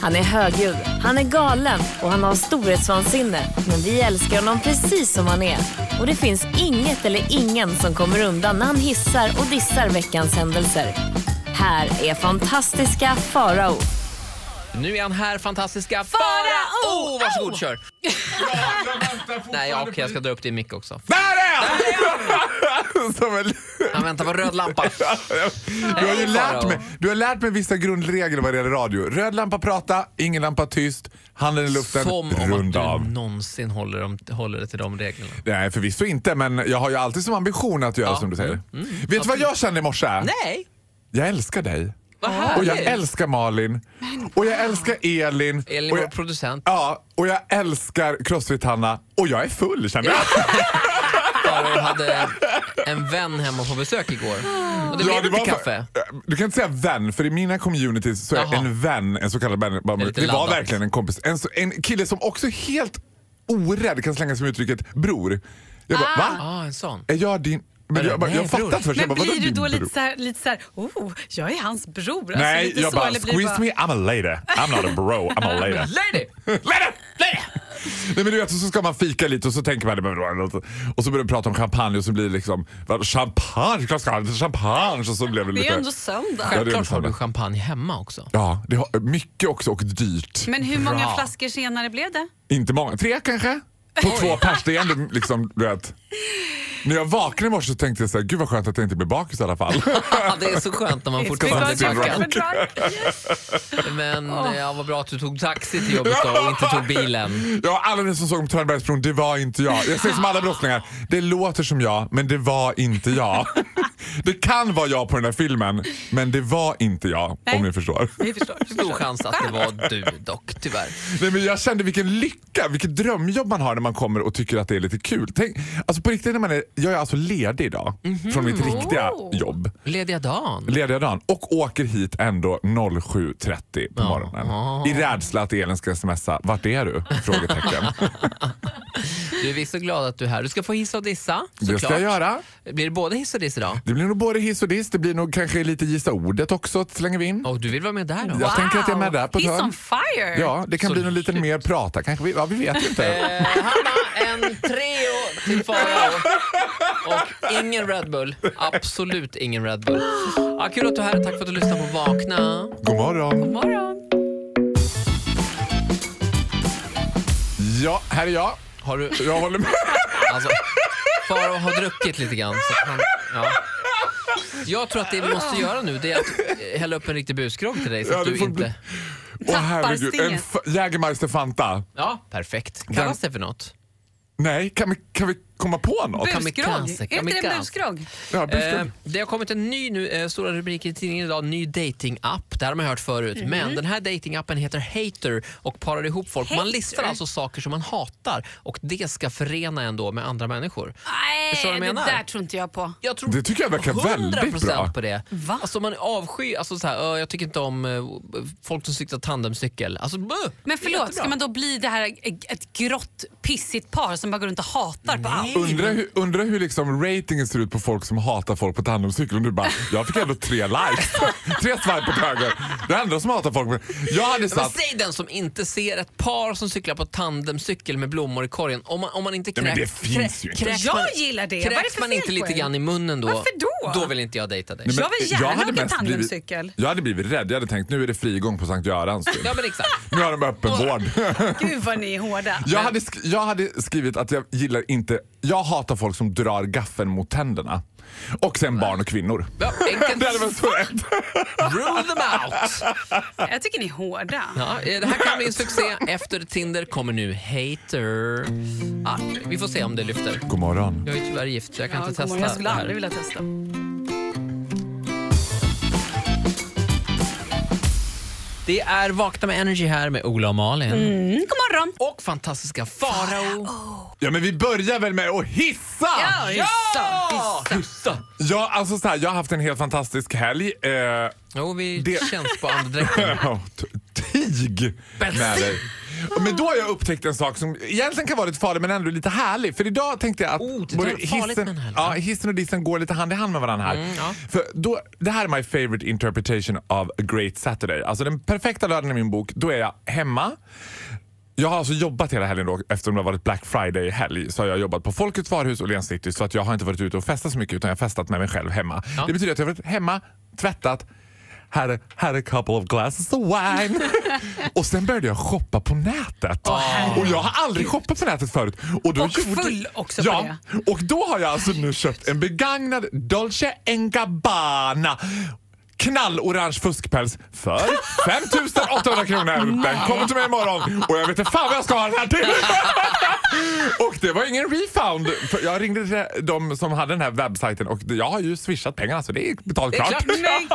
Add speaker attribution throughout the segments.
Speaker 1: Han är högljudd, han är galen och han har storhetsvansinne. Men vi älskar honom precis som han är. Och det finns inget eller ingen som kommer undan när han hissar och dissar veckans händelser. Här är fantastiska Farao.
Speaker 2: Nu är han här, fantastiska Farao! Oh, varsågod, kör. Nej, ja, okej, jag ska dra upp din mick också.
Speaker 3: Där är han! Som en...
Speaker 2: Han väntar på röd lampa.
Speaker 3: Du har ju lärt mig, du har lärt mig vissa grundregler vad det gäller radio. Röd lampa prata, ingen lampa tyst, handen i luften,
Speaker 2: Som om att
Speaker 3: runda
Speaker 2: du
Speaker 3: av.
Speaker 2: någonsin håller, dem, håller dig till de reglerna.
Speaker 3: Nej, förvisso inte, men jag har ju alltid som ambition att göra som du säger. Vet du vad jag kände i morse?
Speaker 2: Mm. Nej,
Speaker 3: Jag älskar dig.
Speaker 2: vad
Speaker 3: Och jag
Speaker 2: härligt.
Speaker 3: älskar Malin. Och jag älskar Elin.
Speaker 2: Elin,
Speaker 3: och
Speaker 2: vår
Speaker 3: jag,
Speaker 2: producent.
Speaker 3: ja, och jag älskar Crossfit-Hanna. Och jag är full känner jag.
Speaker 2: Farao hade en vän hemma på besök igår. Och det
Speaker 3: Ja,
Speaker 2: blev inte
Speaker 3: var- Eh,
Speaker 2: kaffe.
Speaker 3: Du kan inte säga vän, för i mina communities så är
Speaker 2: Jaha.
Speaker 3: en vän en så kallad vän.
Speaker 2: är
Speaker 3: Det,
Speaker 2: lite
Speaker 3: var
Speaker 2: laddat.
Speaker 3: verkligen en
Speaker 4: liksom.
Speaker 3: kompis. En, så- en kille som också helt orädd kan slänga sig med uttrycket bror. Jag bara, va?
Speaker 2: Ah, en sån.
Speaker 3: Är jag din... Men jag, bara,
Speaker 2: Nej,
Speaker 3: jag
Speaker 2: bror.
Speaker 3: fattat först. jag
Speaker 4: Men
Speaker 3: bara, vadå
Speaker 4: blir du
Speaker 3: din
Speaker 4: då lite
Speaker 3: bror?
Speaker 4: så här, lite så här, oh, jag är hans bror? Alltså,
Speaker 3: Nej,
Speaker 4: lite
Speaker 3: jag
Speaker 4: så,
Speaker 3: bara,
Speaker 4: eller blir du
Speaker 3: squeeze me, I'm a lady. I'm not a bro, I'm a lady.
Speaker 2: Lady!
Speaker 3: Lady! Nej, men du vet, så ska man fika lite och så tänker man... Och så börjar de prata om champagne och så blir det liksom... vad, Champagne, klart ska jag ha lite champagne. Och så blev det
Speaker 4: Det är
Speaker 3: lite...
Speaker 4: ju ändå söndag.
Speaker 3: det är
Speaker 2: Självklart har
Speaker 3: samma.
Speaker 2: du champagne hemma också.
Speaker 3: Ja, det har, mycket också och dyrt.
Speaker 4: Men hur många
Speaker 2: Bra.
Speaker 4: flaskor senare blev det?
Speaker 3: Inte många. Tre kanske? På två pers. Det är ändå liksom, du vet. När jag vaknade i morse så tänkte jag så här, gud vad skönt att jag inte blir bakis i alla fall.
Speaker 2: Ah, det är så skönt när man fortfarande
Speaker 4: Because
Speaker 2: är
Speaker 4: you're
Speaker 2: packad.
Speaker 4: different, right?
Speaker 2: Men eh, ja, vad bra att du tog taxi till jobbet då och inte tog bilen.
Speaker 3: Ja, alla ni som såg om Törnbergsbron, det var inte jag. Jag säger som alla brottslingar, det låter som jag, men det var inte jag. Det kan vara jag på den här filmen, men det var inte jag,
Speaker 4: Nej.
Speaker 3: om ni förstår.
Speaker 4: Vi förstår. vi
Speaker 2: Stor
Speaker 4: förstår.
Speaker 2: chans att det var du dock, tyvärr.
Speaker 3: Nej, men jag kände vilken lycka, vilket drömjobb man har när man kommer och tycker att det är lite kul. Tänk, alltså på riktigt, när man är, jag är alltså ledig idag från mitt riktiga
Speaker 4: Mhm. Oh.
Speaker 3: jobb.
Speaker 2: Lediga dagen.
Speaker 3: lediga dagen och åker hit ändå 07.30 på morgonen. I rädsla att Elin ska smsa. Vart är du? Frågetecken.
Speaker 2: Du är vi är så glad att du är här. Du ska få hissa och dissa,
Speaker 3: det ska jag göra.
Speaker 2: Blir det både hiss och diss idag?
Speaker 3: Det blir nog både hiss och diss. Det blir nog kanske lite gissa ordet också slänger vi in.
Speaker 2: Och du vill vara med där då?
Speaker 3: Ja. Jag tänker att jag är med där på ett
Speaker 4: He's
Speaker 3: hörn.
Speaker 4: on fire!
Speaker 3: Ja, det kan bli något lite mer prata kanske. Vi, ja, vi vet inte.
Speaker 2: Eh, Hanna, en trio till Farao. Och ingen Red Bull. Absolut ingen Red Bull. Ja, kul att du är här. Tack för att du lyssnade på Vakna.
Speaker 3: God morgon.
Speaker 4: Morgon.
Speaker 3: Ja, här är jag.
Speaker 2: Har du...
Speaker 3: Jag håller med.
Speaker 2: Alltså, Farao har druckit lite grann. Så att han, ja. Jag tror att det vi måste göra nu det är att eh, hälla upp en riktig busgrogg till dig så
Speaker 3: Ja,
Speaker 2: att
Speaker 3: det
Speaker 2: du
Speaker 3: får
Speaker 2: inte...
Speaker 3: bli- Åh herregud. En
Speaker 4: stinget.
Speaker 3: f- Jägermeister Fanta.
Speaker 2: Ja, perfekt. Kallas det för något?
Speaker 3: Nej, kan vi, kan vi komma på något?
Speaker 2: Kan-
Speaker 4: Busgrogg.
Speaker 2: kamikaze,
Speaker 4: Är inte det
Speaker 2: kamikaze.
Speaker 4: en busgrogg?
Speaker 3: Ja,
Speaker 2: Eh,
Speaker 3: busken.
Speaker 2: det har kommit en ny nu, eh, stora rubriker i tidningen idag, ny datingapp. Det här har man hört förut, men den här datingappen heter Hater och parar ihop folk. Man
Speaker 4: Hater?
Speaker 2: listar alltså saker som man hatar och det ska förena en då med andra människor. Förstår du
Speaker 4: Nej,
Speaker 2: vad
Speaker 4: det
Speaker 2: jag menar?
Speaker 4: där tror inte jag på.
Speaker 2: Jag tror
Speaker 3: Det tycker jag verkar
Speaker 2: 100%
Speaker 3: väldigt bra.
Speaker 2: på det.
Speaker 4: Va?
Speaker 2: Alltså man avskyr, alltså så här, "Ö, jag tycker inte om eh, folk som cyklar tandemcykel. Alltså, buh, det är
Speaker 4: Men förlåt,
Speaker 2: jättebra.
Speaker 4: ska man då bli det här eh, ett grått, pissigt par som bara går runt och hatar på allt?
Speaker 3: Undra hur, undra hur liksom ratingen ser ut på folk som hatar folk på tandemcykel. Och du bara, jag fick ändå tre likes. tre swipe åt höger. Det är andra som hatar folk. Jag hade
Speaker 2: Men
Speaker 3: satt...
Speaker 2: säg den som inte ser ett par som cyklar på tandemcykel med blommor i korgen. Om man, om man inte
Speaker 3: Nej, men
Speaker 2: kräks-
Speaker 3: det finns ju inte.
Speaker 2: kräks
Speaker 4: Jag
Speaker 2: man-
Speaker 4: gillar det. Vad är det
Speaker 2: Kräks
Speaker 4: för
Speaker 2: man
Speaker 4: fel
Speaker 2: inte
Speaker 4: på
Speaker 2: lite
Speaker 4: er?
Speaker 2: grann i munnen då,
Speaker 4: Varför då?
Speaker 2: vill inte jag dejta dig.
Speaker 3: Nej, men
Speaker 4: jag vill gärna
Speaker 3: hade
Speaker 4: åka
Speaker 3: mest
Speaker 4: tandemcykel.
Speaker 3: Blivit, jag hade blivit rädd. Jag hade tänkt nu är det frigång på Sankt Görans. typ.
Speaker 2: Ja men exakt.
Speaker 3: Nu har de öppenvård.
Speaker 4: Gud vad ni är hårda.
Speaker 3: Jag hade, sk- jag hade skrivit att jag gillar inte... Jag hatar folk som drar gaffeln mot tänderna. Och sen barn och kvinnor.
Speaker 2: Ja,
Speaker 3: Det hade varit
Speaker 2: enkelt.
Speaker 3: så rätt.
Speaker 2: Rule them out.
Speaker 4: Jag tycker ni är hårda.
Speaker 2: Ja, eh, det här kan bli en succé. Efter Tinder kommer nu Hater. Ah, vi får se om det lyfter.
Speaker 3: God morgon.
Speaker 2: Jag är tyvärr gift så jag kan
Speaker 4: Ja,
Speaker 2: inte
Speaker 4: god morgon.
Speaker 2: testa
Speaker 4: jag skulle
Speaker 2: det
Speaker 4: aldrig
Speaker 2: här.
Speaker 4: vilja testa.
Speaker 2: Det är Vakna med Energy här med Ola och Malin.
Speaker 4: Mm, god morgon.
Speaker 2: Och fantastiska Farao.
Speaker 3: Ja, men vi börjar väl med att hissa!
Speaker 2: Ja! Hyssa!
Speaker 3: Ja, alltså så här, jag har haft en helt fantastisk helg. Eh,
Speaker 2: Jo, vi
Speaker 3: Det-
Speaker 2: känns på andedräkten.
Speaker 3: Ja, t- krig med dig. Men då har jag upptäckt en sak som egentligen kan vara lite farlig men ändå lite härlig. För idag tänkte jag att
Speaker 2: Oh, det där är farligt men härligt.
Speaker 3: ja, hissen och dissen går lite hand i hand med varandra här.
Speaker 2: Mm, ja.
Speaker 3: För då, det här är my favorite interpretation of a great Saturday. Alltså den perfekta lördagen i min bok, då är jag hemma. Jag har alltså jobbat hela helgen då, eftersom det har varit Black Friday i helg. Så har jag jobbat på Folkets varuhus och Åhléns City så att jag har inte varit ute och festat så mycket utan jag har festat med mig själv hemma.
Speaker 2: Ja.
Speaker 3: Det betyder att jag har varit hemma, tvättat, had a, had a couple of glasses of wine. och sen började jag shoppa på nätet. och jag har aldrig shoppat på nätet förut. Och, då
Speaker 4: Och
Speaker 3: gjorde-
Speaker 4: full också på
Speaker 3: ja,
Speaker 4: det.
Speaker 3: och då har jag alltså nu köpt en begagnad Dolce Gabbana knallorange fuskpäls för 5800 kronor. Den kommer till mig imorgon och jag vet inte fan vad jag ska ha den här till. och det var ingen refund. För jag ringde till de som hade den här webbsajten och jag har ju swishat pengarna så det är betalt klart.
Speaker 2: klart.
Speaker 4: Men gud,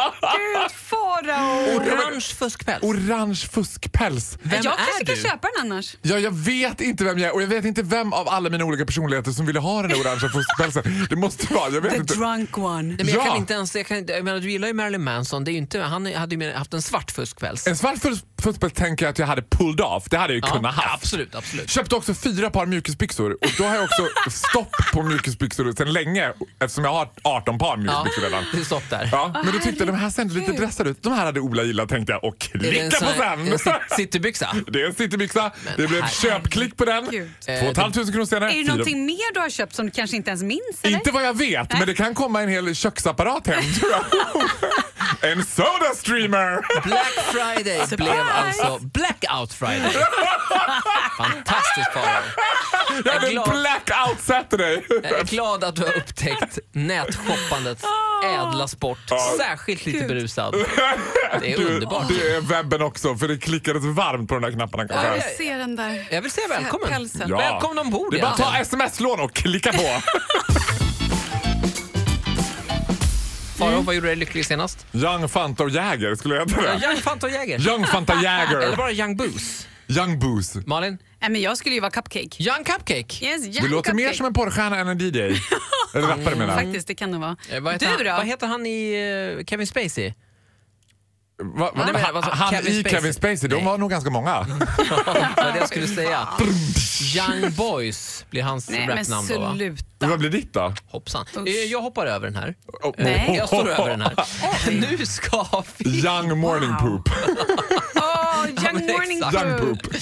Speaker 4: farao!
Speaker 2: Orange fuskpäls.
Speaker 3: Orange fuskpäls.
Speaker 2: Vem
Speaker 4: jag
Speaker 2: är
Speaker 4: kanske
Speaker 2: du?
Speaker 4: kan köpa den annars.
Speaker 3: Ja, jag vet inte vem jag är och jag vet inte vem av alla mina olika personligheter som ville ha den här orangea fuskpälsen. Det måste vara, jag vet
Speaker 4: The
Speaker 3: inte.
Speaker 4: drunk one.
Speaker 2: Nej, men jag
Speaker 3: Ja.
Speaker 2: kan inte ens, jag kan, inte- jag menar, du gillar ju Marilyn Manson, det är ju inte, han hade ju mer- haft en svart fuskpäls.
Speaker 3: En svart fus- fuskpäls tänker jag att jag hade pulled off. Det hade jag ju kunnat
Speaker 2: ja,
Speaker 3: haft.
Speaker 2: absolut, absolut.
Speaker 3: Köpte också fyra par mjukisbyxor och då har jag också stopp på mjukisbyxor sedan länge eftersom jag har 18 par mjukisbyxor
Speaker 2: Ja, Ah,
Speaker 3: redan.
Speaker 2: det är stopp där.
Speaker 3: Ja, men då tyckte jag de här ser ändå lite dressade ut. De här hade Ola gillat tänkte jag och
Speaker 2: Är det en
Speaker 3: klicka
Speaker 2: sån
Speaker 3: på
Speaker 2: här-
Speaker 3: sen.
Speaker 2: en sit- citybyxa?
Speaker 3: Det är en citybyxa, det blev
Speaker 2: herregud. Eh,
Speaker 3: köpklick på den.
Speaker 4: Gud.
Speaker 3: 2 500 kronor senare.
Speaker 4: Är det
Speaker 3: fyra-
Speaker 4: någonting mer du har köpt som du kanske inte ens minns? Eller?
Speaker 3: Inte vad jag vet, men det kan komma en hel köksapparat hem tror jag. en soda streamer!
Speaker 2: Black Friday blev alltså Blackout Friday. Fantastiskt Farao.
Speaker 3: Jag hade en
Speaker 2: glad. Eh,
Speaker 3: blackout Saturday!
Speaker 2: Jag är glad att du har upptäckt nätshoppandet
Speaker 4: Ah.
Speaker 2: ädla sport. Särskilt lite berusad. Det är underbart.
Speaker 3: Det är webben också, för det klickades varmt på de där knapparna. kan jag
Speaker 2: Ja,
Speaker 3: säga.
Speaker 2: ja,
Speaker 4: Se den där.
Speaker 2: Jag vill säga välkommen.
Speaker 4: Pälsen.
Speaker 3: Ja.
Speaker 2: Välkommen ombord Mm.
Speaker 3: Det är bara att ta
Speaker 2: egentligen.
Speaker 3: sms-lån och klicka på.
Speaker 2: Farao, vad gjorde dig lycklig senast?
Speaker 3: Young Fanta och Jäger skulle jag heta det.
Speaker 2: Young Fanta Jäger.
Speaker 3: Young Fanta
Speaker 2: Eller
Speaker 3: Jäger.
Speaker 2: bara Young Booze.
Speaker 3: Young Booze.
Speaker 2: Malin?
Speaker 4: Nej, men jag skulle ju vara cupcake.
Speaker 2: Young Cupcake.
Speaker 4: Yes,
Speaker 3: Du låter mer som Mm. en porrstjärna än en DJ. Eller rappare menar jag.
Speaker 4: Faktiskt, det kan det vara.
Speaker 2: Eh, Vad heter,
Speaker 4: du då?
Speaker 2: han, vad heter han i eh, Kevin Spacey?
Speaker 3: Va, va,
Speaker 2: Nej, men
Speaker 3: han
Speaker 2: alltså,
Speaker 3: han
Speaker 2: Kevin
Speaker 3: i
Speaker 2: Spacey.
Speaker 3: Kevin Spacey, de
Speaker 2: Nej.
Speaker 3: var nog ganska många.
Speaker 2: Ja, det var det jag skulle säga. Young Boys blir hans
Speaker 4: Nej, men
Speaker 2: rapnamn då va?
Speaker 4: sluta.
Speaker 3: Vad blir ditt då?
Speaker 2: Hoppsan.
Speaker 4: Usch.
Speaker 2: Eh, Jag hoppar över den här.
Speaker 3: Oh,
Speaker 4: Nej.
Speaker 2: Jag står över den här. Nu ska vi...
Speaker 3: Young morning
Speaker 4: Wow.
Speaker 3: poop.
Speaker 4: Åh,
Speaker 2: men
Speaker 4: young morning
Speaker 2: exakt.
Speaker 3: Young
Speaker 4: crew. Oh,
Speaker 3: poop.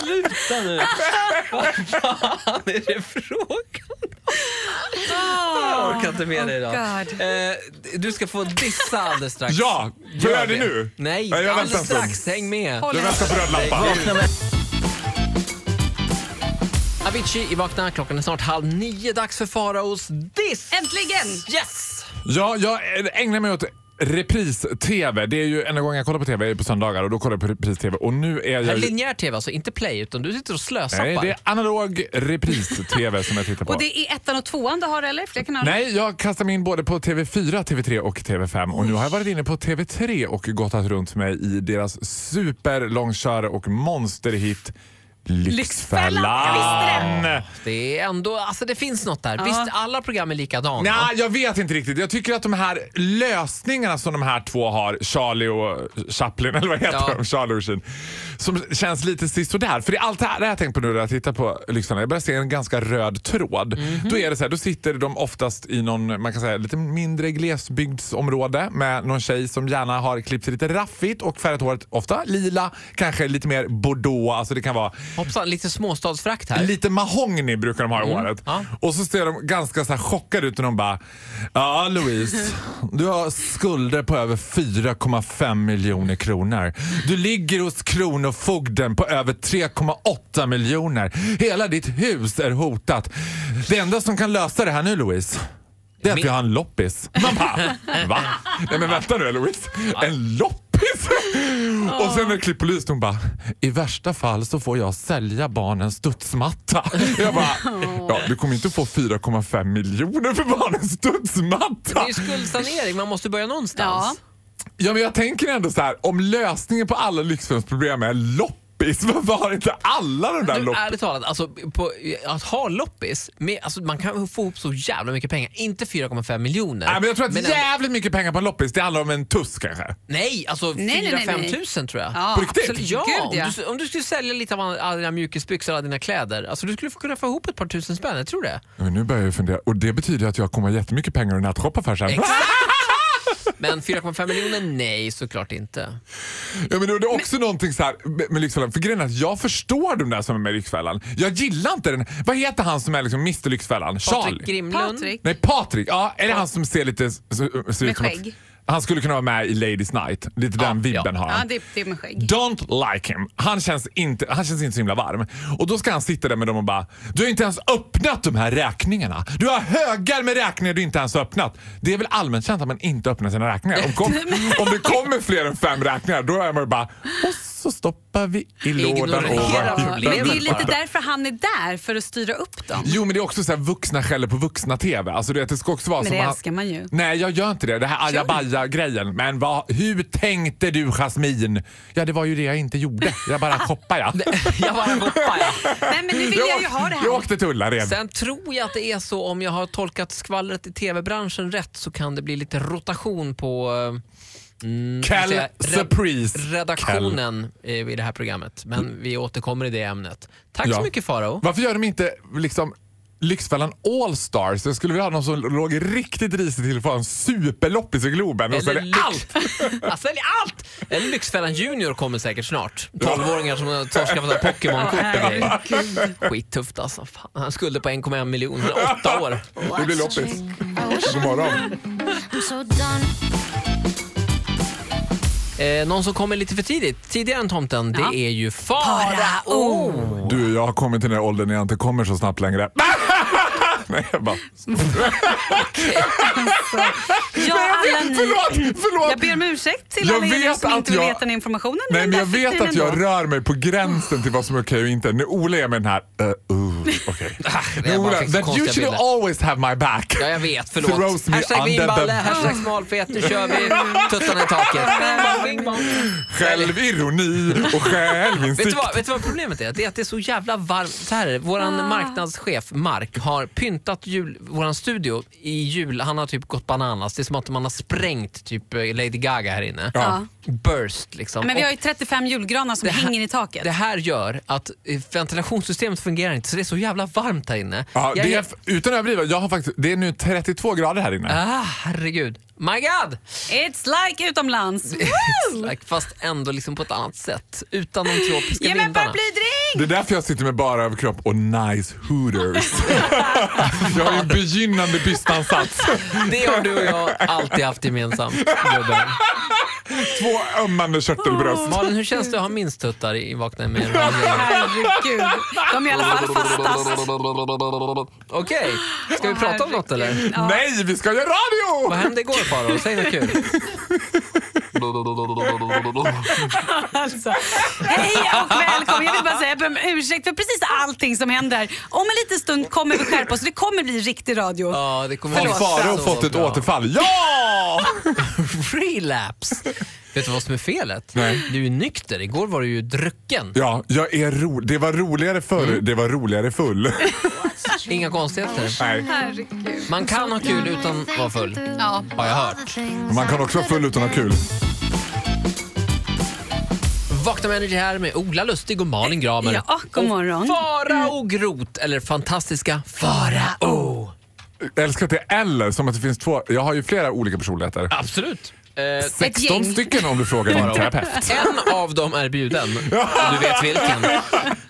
Speaker 2: Sluta nu! Vad fan är det frågan om? Jag orkar inte med dig idag.
Speaker 4: Ah. Oh, God.
Speaker 2: Eh, Du ska få dissa alldeles strax.
Speaker 3: Ja, för
Speaker 2: Gör
Speaker 3: är det nu?
Speaker 2: Nej,
Speaker 3: Nej, jag
Speaker 2: alldeles
Speaker 3: väntar en
Speaker 2: strax. Häng med.
Speaker 4: Håll
Speaker 3: Jag väntar på röd lampa.
Speaker 2: Vakna med. Avicii i Vakna. Klockan är snart halv nio. Dags för Faraos diss!
Speaker 4: Äntligen!
Speaker 2: Yes!
Speaker 3: Ja, jag ägnar mig åt repris-tv. Det är ju enda gången jag kollar på tv är på söndagar och då kollar jag på repris-tv. Och nu är
Speaker 2: Det här
Speaker 3: jag...
Speaker 2: är linjär tv, alltså inte play, utan du sitter och slösappar.
Speaker 3: Nej, det är analog repris-tv som jag tittar på.
Speaker 4: Och det är ettan och tvåan du har eller? Fler kanaler?
Speaker 3: Nej, jag kastar mig in både på TV4, TV3 och TV5. Och nu har jag varit inne på TV3 och gottat runt mig i deras superlångkörare och monsterhit
Speaker 4: Jag
Speaker 3: Lyxfällan.
Speaker 4: visste
Speaker 3: Jag
Speaker 2: Det är ändå, alltså det finns något där. Visst, alla program är likadana.
Speaker 3: Nej, jag vet inte riktigt. Jag tycker att de här lösningarna som de här två har, Charlie och Chaplin, eller vad heter
Speaker 2: Ja.
Speaker 3: de? Charlie och Sheen, som känns lite sisådär. För det är allt det här det här jag tänkt på nu när jag tittar på Lyxfällan. Jag börjar se en ganska röd tråd. Då är det så här, då sitter de oftast i någon, man kan säga lite mindre glesbygdsområde med någon tjej som gärna har klippt sig lite raffigt och färgat håret, ofta lila, kanske lite mer bordeaux. Alltså det kan vara
Speaker 2: Hoppsan, lite småstadsfrakt här. Mm.
Speaker 3: Lite mahogny brukar de ha i håret.
Speaker 2: ja.
Speaker 3: Och så ser de ganska så här chockade ut när de bara Ja Louise, du har skulder på över 4,5 miljoner kronor. Du ligger hos Kronofogden på över 3,8 miljoner. Hela ditt hus är hotat. Det enda som kan lösa det här nu Louise det är att
Speaker 2: Min-
Speaker 3: vi har en loppis. Man bara, va? Nej men vänta nu Louise, en loppis? Och sen när det klipp på lyset hon bara, i värsta fall så får jag sälja barnens studsmatta. Jag bara, ja du kommer inte få 4,5 miljoner för barnens
Speaker 2: Det
Speaker 3: studsmatta.
Speaker 2: är ju skuldsanering, man måste börja någonstans.
Speaker 4: Ja.
Speaker 3: Ja men jag tänker ändå så här, om lösningen på alla lyxfilmsproblem är loppis loppis? Varför har inte alla de där
Speaker 2: Du,
Speaker 3: loppis?
Speaker 2: ärligt talat, alltså, på, att ha loppis, med, alltså, man kan få ihop så jävla mycket pengar. Inte 4,5 miljoner.
Speaker 3: Nej, men jag tror att
Speaker 2: men en-
Speaker 3: jävligt mycket pengar på en loppis, det handlar om en tuss kanske.
Speaker 2: Nej, alltså
Speaker 4: Nej, nej, nej,
Speaker 2: 4-5
Speaker 4: nej.
Speaker 2: tusen tror jag.
Speaker 4: Ja,
Speaker 3: På riktigt?
Speaker 4: absolut.
Speaker 2: Ja,
Speaker 4: Gud, ja.
Speaker 2: Om, du, om du skulle sälja lite av alla dina mjukisbyxor, alla dina kläder. Alltså du skulle få kunna få ihop ett par tusen spänn, jag tror det.
Speaker 3: Men nu börjar jag fundera och det betyder att jag kommer ha jättemycket pengar att nattshoppa för sen.
Speaker 2: Exakt. Men 4,5 miljoner, nej såklart inte.
Speaker 3: Ja, men det är också någonting så här med- med Lyxfällan. För grejen är att jag förstår de där som är med i Lyxfällan. Jag gillar inte den. Vad heter han som är liksom Mr Lyxfällan?
Speaker 2: Patrik
Speaker 3: Charlie?
Speaker 2: Grimlund.
Speaker 4: Patrik.
Speaker 3: Nej, Patrik. Ja, är det han som ser lite... s- s- Ser
Speaker 4: Med
Speaker 3: ut som att-
Speaker 4: skägg.
Speaker 3: Han skulle kunna vara med i Ladies Night. Lite
Speaker 2: Ja,
Speaker 3: den vibben har
Speaker 4: Ja,
Speaker 3: han.
Speaker 4: det, är- det är med skägg.
Speaker 3: Don't like him. Han känns, inte, han känns inte så himla varm. Och då ska han sitta där med dem och bara Du har inte ens öppnat de här räkningarna. Du har högar med räkningar du inte ens har öppnat. Det är väl allmänt känt att man inte öppnar sina räkningar. Om, kom, om det kommer fler än fem räkningar då är man ju bara Och så stoppar vi i lådan
Speaker 2: Ignorera
Speaker 4: Ja,
Speaker 3: och
Speaker 4: men
Speaker 2: problemet
Speaker 4: det är ju
Speaker 2: bara.
Speaker 4: lite därför han är där, för att styra upp dem.
Speaker 3: Jo men det är också så här vuxna skäller på vuxna-TV. Alltså, du vet, det ska också vara
Speaker 4: Men
Speaker 3: som
Speaker 4: det
Speaker 3: han-
Speaker 4: älskar man ju.
Speaker 3: Nej jag gör inte det. Det här ajabaja-grejen. Men vad, hur tänkte du Jasmin? Ja det var ju det jag inte gjorde. Jag bara shoppade ja.
Speaker 2: Jag bara hoppar. jag.
Speaker 4: Nej, men nu vill jag ju ha det
Speaker 3: Jag
Speaker 4: här.
Speaker 3: åkte till Ullared.
Speaker 2: Sen tror jag att det är så, om jag har tolkat skvallret i tv-branschen rätt, så kan det bli lite rotation på eh, mm,
Speaker 3: Kell
Speaker 2: ska jag säga, red-
Speaker 3: Surprise. Mm.
Speaker 2: redaktionen eh, i det här programmet. Men vi återkommer i det ämnet. Tack
Speaker 3: Ja.
Speaker 2: så mycket Farao.
Speaker 3: Varför gör de inte liksom Lyxfällan Allstars? Jag skulle vilja ha någon som låg riktigt risigt till för en superloppis i Globen och säljer
Speaker 2: lyx-
Speaker 3: allt.
Speaker 2: Ja, säljer allt! En Lyxfällan Junior kommer säkert snart. 12-åringar som har torskar på Pokémon-kort och grejer. Skittufft alltså. Fan, han skulder på 1,1 miljon. Han är åtta år.
Speaker 3: Det blir loppis. God morgon.
Speaker 2: Eh, någon som kommer lite för tidigt, tidigare än tomten, det är ju Farao.
Speaker 3: Du, jag har kommit till den här åldern när jag inte kommer så snabbt längre. Nej, jag bara...
Speaker 4: Ja, alla ni.
Speaker 3: Förlåt! förlåt.
Speaker 4: Jag ber om ursäkt till
Speaker 3: Jag
Speaker 4: alla er
Speaker 3: vet
Speaker 4: som inte
Speaker 3: att
Speaker 4: vill
Speaker 3: jag-
Speaker 4: veta den informationen.
Speaker 3: Nej, men
Speaker 4: där
Speaker 3: jag
Speaker 4: fick ni
Speaker 3: vet
Speaker 4: den
Speaker 3: att jag
Speaker 4: då.
Speaker 3: rör mig på gränsen till vad som är okej och inte. När Ola är med den här... Uh, uh, okay.
Speaker 2: det är bara fick så
Speaker 3: that
Speaker 2: konstiga
Speaker 3: usually
Speaker 2: bilder.
Speaker 3: always have my back.
Speaker 2: Ja, jag vet.
Speaker 3: Throws
Speaker 2: Förlåt.
Speaker 3: me
Speaker 2: Hashtag
Speaker 3: under
Speaker 2: vinballe,
Speaker 3: the-
Speaker 2: hashtag smalfet. Nu kör vi. Tuttarna i taket.
Speaker 3: Självironi och
Speaker 2: Vet du,
Speaker 3: självinsikt.
Speaker 2: vad, vet du vad problemet är? Det är att det är så jävla varmt. Så här, är det. våran
Speaker 4: Ah.
Speaker 2: marknadschef Mark har pyntat jul, våran studio i jul. Han har typ gått bananas. Det är som att man har sprängt typ eh, Lady Gaga här inne.
Speaker 3: Ja.
Speaker 2: Burst liksom.
Speaker 4: Men vi
Speaker 2: Och-
Speaker 4: har ju 35 julgranar som
Speaker 2: här-
Speaker 4: hänger i taket.
Speaker 2: Det här gör att eh, ventilationssystemet fungerar inte så det är så jävla varmt här inne.
Speaker 3: Ja,
Speaker 2: Jag
Speaker 3: det är,
Speaker 2: är-
Speaker 3: utan att överdriva, jag har faktiskt, det är nu 32 grader här inne.
Speaker 2: Ah, herregud. My God!
Speaker 4: It's like utomlands.
Speaker 2: Like, Fast ändå liksom på ett annat sätt. Utan de tropiska
Speaker 4: Ge mig en
Speaker 2: vindarna.
Speaker 4: paraplydrink!
Speaker 3: Det är därför jag sitter med bara överkropp och nice hooters. jag har ju en begynnande bystansats.
Speaker 2: Det har du och jag alltid haft gemensamt. gubben.
Speaker 3: Två ömmande körtelbröst.
Speaker 2: Malin, hur känns det att ha minst tuttar i Vakna med
Speaker 4: Herregud, de är i alla fall fastast.
Speaker 2: Okej, ska vi
Speaker 4: Åh,
Speaker 2: prata om något
Speaker 4: herregud.
Speaker 2: eller?
Speaker 4: Ja.
Speaker 3: Nej, vi ska göra radio!
Speaker 2: Vad hände igår Farao? Säg något kul.
Speaker 4: Alltså. Hej och välkommen. Jag vill bara säga jag ber om ursäkt för precis allting som händer. Om en liten stund kommer vi skärpa oss. Det kommer bli riktig radio.
Speaker 2: Ja, det kommer
Speaker 3: Har
Speaker 2: bli
Speaker 3: Farao
Speaker 2: så
Speaker 3: fått ett
Speaker 2: bra.
Speaker 3: återfall? Ja!
Speaker 2: Relapse. Vet du vad som är felet?
Speaker 3: Nej.
Speaker 2: Du är ju nykter. Igår var du ju drucken.
Speaker 3: Ja, jag är ro det var roligare förr, det var roligare full.
Speaker 2: Inga konstigheter.
Speaker 3: Nej.
Speaker 4: Herregud.
Speaker 2: Man kan ha kul utan att vara full.
Speaker 4: Ja.
Speaker 2: Har jag hört.
Speaker 3: Man kan också vara full utan att ha kul.
Speaker 2: Vakna med Energy här med Ola Lustig och Malin Gramer.
Speaker 4: Eh, Ja, god morgon. Mm.
Speaker 2: Farao Groth, eller fantastiska Farao.
Speaker 3: Jag älskar att det är eller, som att det finns två. Jag har ju flera olika personligheter.
Speaker 2: Absolut. Eh,
Speaker 3: 16
Speaker 4: gäng.
Speaker 3: stycken om du frågar din terapeut.
Speaker 2: en av dem är bjuden. Du vet vilken.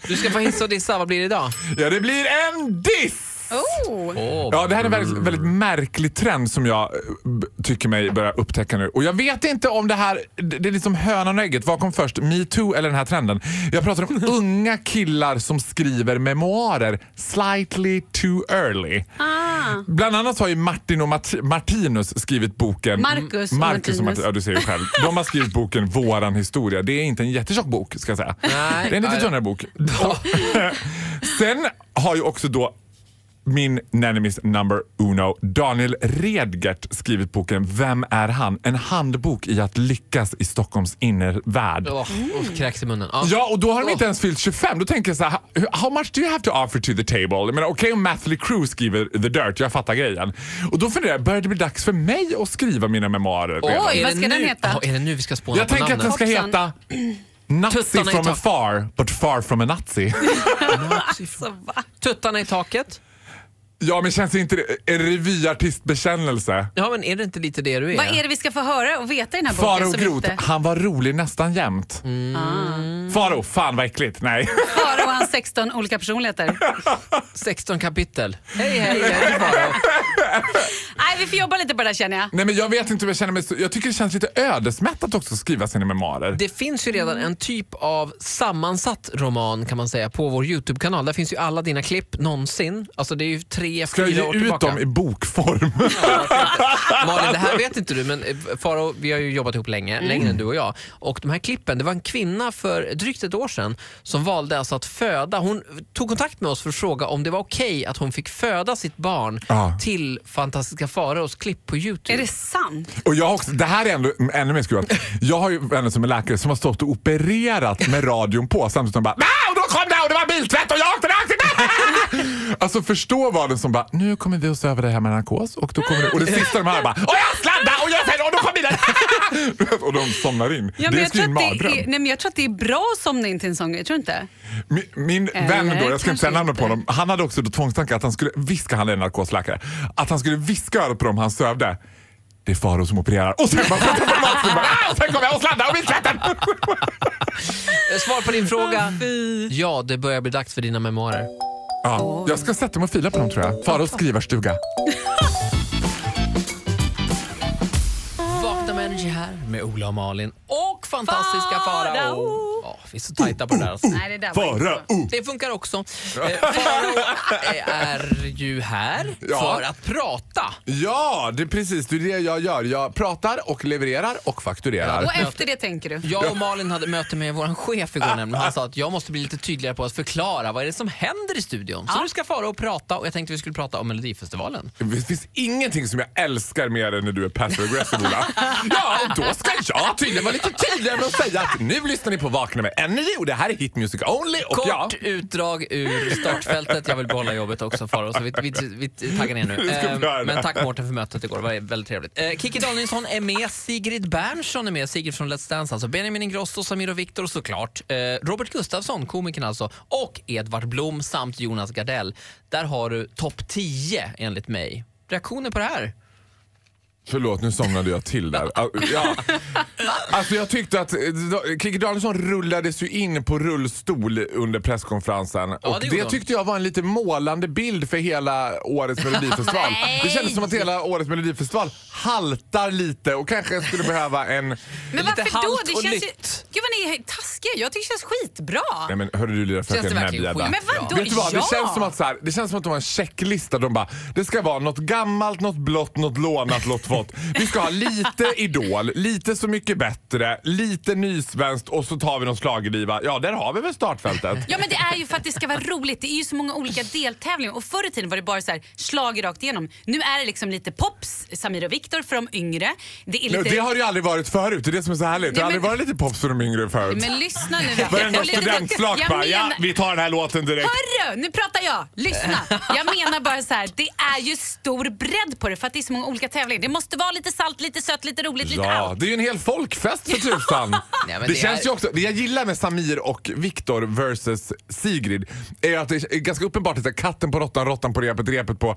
Speaker 2: Du ska få hissa och dissa. Vad blir det idag?
Speaker 3: Ja, det blir en diss!
Speaker 4: Oh.
Speaker 2: Åh,
Speaker 3: Ja, det här är en väldigt, väldigt märklig trend som jag eh, b- tycker mig börja upptäcka nu. Och jag vet inte om det här, det det är liksom hönan och ägget. Vad kom först, metoo eller den här trenden? Jag pratar om unga killar som skriver memoarer slightly too early.
Speaker 4: Ah.
Speaker 3: Bland annat har ju Martin och Mart- Martinus skrivit boken
Speaker 4: Marcus och
Speaker 3: Marcus och
Speaker 4: Martinus.
Speaker 3: Marti- ja, du ser ju själv. De har skrivit boken Våran historia. Det är inte en jättetjock bok ska jag säga.
Speaker 2: Nej.
Speaker 3: det är en lite
Speaker 2: Nej.
Speaker 3: tunnare bok. Och- Sen har ju också då min nenemies number uno, Daniel Redgert, skrivit boken Vem är han? En handbok i att lyckas i Stockholms innervärld.
Speaker 2: Åh, åh, kräks i munnen. Ja.
Speaker 3: Ja, och då har de inte
Speaker 2: Åh.
Speaker 3: ens fyllt 25. Då tänker jag så här, how much do you have to offer to the table? Jag menar, okej om Mathley Crew skriver The Dirt, jag fattar grejen. Och då funderar jag, börjar det bli dags för mig att skriva mina memoarer? redan?
Speaker 4: Oj,
Speaker 2: Är
Speaker 4: vad
Speaker 2: det
Speaker 4: ska
Speaker 2: nu-
Speaker 4: den heta?
Speaker 2: Ja, är det nu vi ska spåna
Speaker 3: Jag
Speaker 2: på
Speaker 3: tänker att den
Speaker 2: namnet?
Speaker 3: ska heta Nazi
Speaker 2: Tuttarna i
Speaker 3: from
Speaker 2: tak.
Speaker 3: afar, but far from a Nazi.
Speaker 4: Så, va?
Speaker 2: Tuttarna i taket?
Speaker 3: ja, men känns inte det en revyartistbekännelse?
Speaker 2: Ja, men är det inte lite det du är?
Speaker 4: Vad är det vi ska få höra och veta i den här boken?
Speaker 3: Faro
Speaker 4: som
Speaker 3: Groth,
Speaker 4: inte-
Speaker 3: han var rolig nästan jämt.
Speaker 2: Mm.
Speaker 3: Ah. Faro, fan vad äckligt. Nej.
Speaker 4: Faro och hans 16 olika personligheter.
Speaker 2: 16 kapitel. Hej, hej, hej. Bara.
Speaker 4: Nej, vi får jobba lite på det där känner jag.
Speaker 3: Nej men jag vet inte hur jag känner mig. så- Jag tycker det känns lite ödesmättat också att skriva sina memoarer.
Speaker 2: Det finns ju redan en typ av sammansatt roman kan man säga på vår Youtube-kanal. Där finns ju alla dina klipp någonsin. Alltså det är ju tre,
Speaker 3: Ska jag
Speaker 2: fyra år
Speaker 3: ge ut
Speaker 2: tillbaka.
Speaker 3: dem i bokform?
Speaker 2: Malin, det här vet inte du, men eh, Faro, vi har ju jobbat ihop länge, längre än du och jag. Och de här klippen, det var en kvinna för drygt ett år sedan som valde alltså att föda. Hon tog kontakt med oss för att fråga om det var okej att hon fick föda sitt barn
Speaker 3: Ja.
Speaker 2: till Fantastiska Faraos klipp på Youtube.
Speaker 4: Är det sant?
Speaker 3: Och jag har också, det här är ändå, ännu mer skruvat. Jag har ju vänner som är läkare som har stått och opererat med radion på samtidigt som de bara "Nej, och då kom det och det var biltvätt och jag åkte rakt in." Alltså förstå vad den som bara nu kommer vi att söva dig här med narkos och då kommer det, och det sista de här bara och jag sladdade och jag sen och då kom bilen och de somnar in.
Speaker 4: Ja, men
Speaker 3: det
Speaker 4: jag
Speaker 3: skulle
Speaker 4: tror
Speaker 3: ju en
Speaker 4: att det är,
Speaker 3: mardröm.
Speaker 4: nej, men jag tror att det är bra att somna in till en sång. Jag tror inte.
Speaker 3: Min, min
Speaker 4: Eller
Speaker 3: vän då, jag ska
Speaker 4: Eh, kanske
Speaker 3: inte säga namnet på
Speaker 4: inte.
Speaker 3: honom, han hade också då tvångstankar att han skulle viska, han är en narkosläkare, att han skulle viska i örat på dem han sövde. Det är Faro som opererar. Och sen bara... "Ah, och sen kommer jag och sladdar och biltvätten!
Speaker 2: Eh, Svar på din fråga? Ja, det börjar bli dags för dina memoarer.
Speaker 3: Ja, jag ska sätta mig och fila på dem tror jag. Faros skrivarstuga.
Speaker 2: Vakna med Energy här med Ola och Malin och fantastiska
Speaker 4: Farao.
Speaker 2: Farao. Ja, vi är så tajta på det där. Alltså.
Speaker 4: Nej, det där var inte
Speaker 3: Fara!
Speaker 4: bra.
Speaker 3: Oh.
Speaker 2: Det funkar också. Eh, Farao eh, är ju här
Speaker 3: Ja.
Speaker 2: för att prata.
Speaker 3: Ja, det är precis det, är det jag gör. Jag pratar och levererar och fakturerar.
Speaker 4: Och efter det tänker du?
Speaker 2: Jag och Malin hade möte med vår chef igår nämligen. Han sa att jag måste bli lite tydligare på att förklara vad är det som händer i studion. Så nu ska Farao prata och jag tänkte vi skulle prata om Melodifestivalen.
Speaker 3: Det finns ingenting som jag älskar mer än när du är passive aggressive Ola. Ja, och då ska jag tydligen vara lite tydligare med att säga att nu lyssnar ni på Vakna med Energy och det här är Hit Music Only. Och
Speaker 2: Kort
Speaker 3: ja,
Speaker 2: utdrag ur startfältet. Jag vill behålla jobbet också Farao, så vi, vi, vi taggar ner nu.
Speaker 3: Vi ska
Speaker 2: Ehm,
Speaker 3: göra det.
Speaker 2: men tack Mårten för mötet igår, det var väldigt trevligt. Eh, Kikki Danielsson är med, Sigrid Bernson är med, Sigrid från Let's Dance alltså. Benjamin Ingrosso, Samir och Viktor såklart. Eh, Robert Gustafsson, komikern alltså. Och Edvard Blom samt Jonas Gardell. Där har du topp 10 enligt mig. Reaktioner på det här?
Speaker 3: förlåt nu somnade jag till där. Ah, Ja. Alltså jag tyckte att eh, Kikki Danielsson rullades ju in på rullstol under presskonferensen.
Speaker 2: det
Speaker 3: och
Speaker 2: gjorde
Speaker 3: det
Speaker 2: hon.
Speaker 3: tyckte jag var en lite målande bild för hela årets melodifestival.
Speaker 4: Nej.
Speaker 3: det kändes som att hela årets melodifestival haltar lite och kanske skulle behöva en...
Speaker 4: Men
Speaker 2: Lite
Speaker 4: varför då?
Speaker 2: halt
Speaker 4: Det
Speaker 2: och
Speaker 4: känns ju...
Speaker 2: nytt.
Speaker 4: Gud vad ni är taskiga. Jag tycker det känns skitbra.
Speaker 3: Nej men hörru du lilla
Speaker 2: det
Speaker 3: fröken
Speaker 2: verkligen
Speaker 3: Näbbgädda.
Speaker 2: skit?
Speaker 4: Men vadå?
Speaker 3: Vet du vad?
Speaker 4: Ja!
Speaker 3: Det känns som att så här, det känns som att de har en checklista. De bara, det ska vara något gammalt, något blått, något lånat, något fått. Vi ska ha lite Idol, lite Så mycket bättre, lite nysvenskt och så tar vi någon schlagerdriva. Ja, där har vi väl startfältet.
Speaker 4: Ja men det är ju för att det ska vara roligt. Det är ju så många olika deltävlingar och förr i tiden var det bara så här slag rakt igenom. Nu är det liksom lite pops, Samir och Viktor för de yngre. Det är
Speaker 3: Nej,
Speaker 4: lite...
Speaker 3: Det har det ju aldrig varit förut. Det är det som är så härligt. Det har
Speaker 4: Nej,
Speaker 3: aldrig
Speaker 4: men-
Speaker 3: varit lite pops för de yngre förut.
Speaker 4: Men lyssna nu. Rickard.
Speaker 3: Varenda
Speaker 4: Och lite-
Speaker 3: studentflak
Speaker 4: Jag
Speaker 3: bara, ja
Speaker 4: menar-
Speaker 3: vi tar den här låten direkt.
Speaker 4: Hörru, nu pratar jag! Lyssna! Jag menar bara så här, det är ju stor bredd på det för att det är så många olika tävlingar. Det måste vara lite salt, lite sött, lite roligt, lite
Speaker 3: Ja,
Speaker 4: allt.
Speaker 3: det är ju en hel folkfest för tusan.
Speaker 2: Nej,
Speaker 3: det,
Speaker 2: men det
Speaker 3: känns
Speaker 2: är-
Speaker 3: ju också, det jag gillar med Samir och Viktor versus Sigrid är att det är ganska uppenbart att det är katten på råttan, råttan på repet, repet på...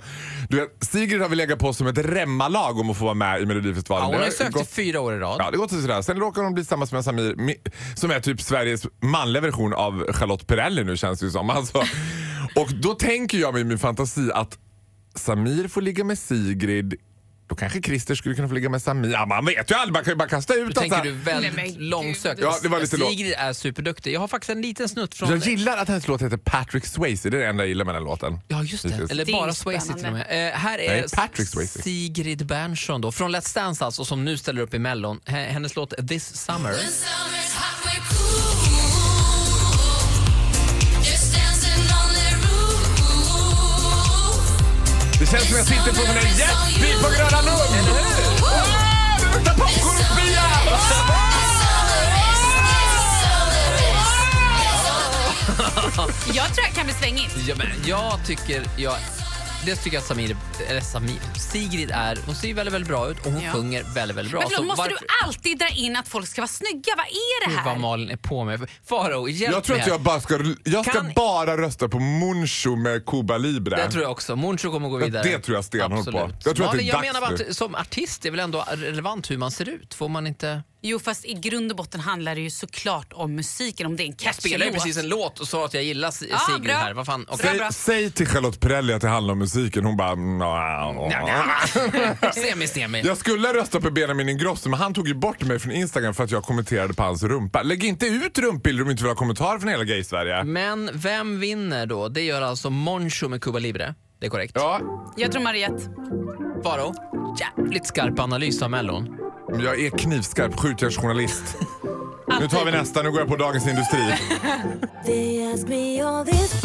Speaker 3: Du vet, Sigrid har väl legat på som ett remmalag om att få vara med i Melodifestivalen.
Speaker 2: Ja, hon
Speaker 3: Det
Speaker 2: har ju sökt i
Speaker 3: gått-
Speaker 2: fyra år i rad.
Speaker 3: Ja, det går till sådär. Sen råkar hon bli tillsammans med Samir Mi- som är typ Sveriges manliga version av Charlotte Perrelli nu känns det ju som. Alltså, och då tänker jag mig i min fantasi att Samir får ligga med Sigrid då kanske Christer skulle kunna få ligga med Samir. Ja, man vet ju aldrig, man kan ju bara kasta ut
Speaker 2: Nu tänker
Speaker 3: alltså.
Speaker 2: du väldigt
Speaker 4: Nej, men gud.
Speaker 2: långsökt.
Speaker 3: Ja, det var lite lågt.
Speaker 2: Sigrid är superduktig. Jag har faktiskt en liten snutt från...
Speaker 3: Jag gillar att hennes låt heter Patrick Swayze, det är det enda jag gillar med den låten.
Speaker 2: Ja, just det.
Speaker 3: Hittills.
Speaker 2: Eller
Speaker 4: Det är
Speaker 2: bara
Speaker 4: ju
Speaker 2: Swayze till och
Speaker 4: spännande.
Speaker 2: med. Eh, här är
Speaker 3: Nej, Patrick Swayze.
Speaker 2: Sigrid Bernson då, från Let's Dance alltså, som nu ställer upp i Mellon. H- Hennes låt This Summer.
Speaker 5: Summer's halfway cool. Just dancing on the roof.
Speaker 3: Det känns som jag sitter på en jetbil på Gröna Lund. Wow, det luktar popcorn och spia!
Speaker 4: Jag tror jag kan bli svängigt.
Speaker 2: Ja, men jag tycker... Jag, det tycker jag att Samir, eller Samir, Sigrid är. Hon ser ju väldigt, väldigt bra ut och hon
Speaker 4: Ja.
Speaker 2: sjunger väldigt, väldigt bra.
Speaker 4: Men förlåt,
Speaker 2: Så
Speaker 4: måste
Speaker 2: varför-
Speaker 4: du alltid dra in att folk ska vara snygga? Vad är det
Speaker 2: Gud, vad
Speaker 4: här?
Speaker 2: Malin är på med. Faro, hjälp
Speaker 3: Jag tror
Speaker 2: mig
Speaker 3: att
Speaker 2: här.
Speaker 3: jag bara ska, jag ska
Speaker 2: Kan-
Speaker 3: bara rösta på Muncho med Cuba Libre.
Speaker 2: Det tror jag också. Moncho kommer gå
Speaker 3: Det-
Speaker 2: vidare.
Speaker 3: det tror jag stenhårt på.
Speaker 2: Absolut.
Speaker 3: Jag tror att det är
Speaker 2: Malin, jag
Speaker 3: dags
Speaker 2: menar bara
Speaker 3: nu.
Speaker 2: att som artist är väl ändå relevant hur man ser ut? Får man inte...
Speaker 4: Jo, fast i grund och botten handlar det ju såklart om musiken, om det är en
Speaker 2: Jag spelade ju
Speaker 4: catchy
Speaker 2: precis
Speaker 4: låt.
Speaker 2: en låt och sa att jag gillar Si-
Speaker 4: Ja,
Speaker 2: Sigrid
Speaker 4: bra.
Speaker 2: här. Vad fan? okej.
Speaker 4: Bra,
Speaker 3: Säg,
Speaker 4: bra.
Speaker 3: säg till Charlotte Perrelli att det handlar om musiken. Hon bara... "Nå."
Speaker 2: Semi, semi.
Speaker 3: Jag skulle rösta på Benjamin Ingrosso men han tog ju bort mig från Instagram för att jag kommenterade på hans rumpa. Lägg inte ut rumpbilder om du inte vill ha kommentarer från hela gay-Sverige.
Speaker 2: Men vem vinner då? Det gör alltså Moncho med Cuba Libre. Det är korrekt.
Speaker 3: Ja,
Speaker 4: Jag tror Mariette.
Speaker 2: Faro, jävligt skarp analys av Mellon.
Speaker 3: men jag är knivskarp skjutjärnsjournalist. nu tar vi nästa, nu går jag på Dagens Industri.
Speaker 5: They ask me all this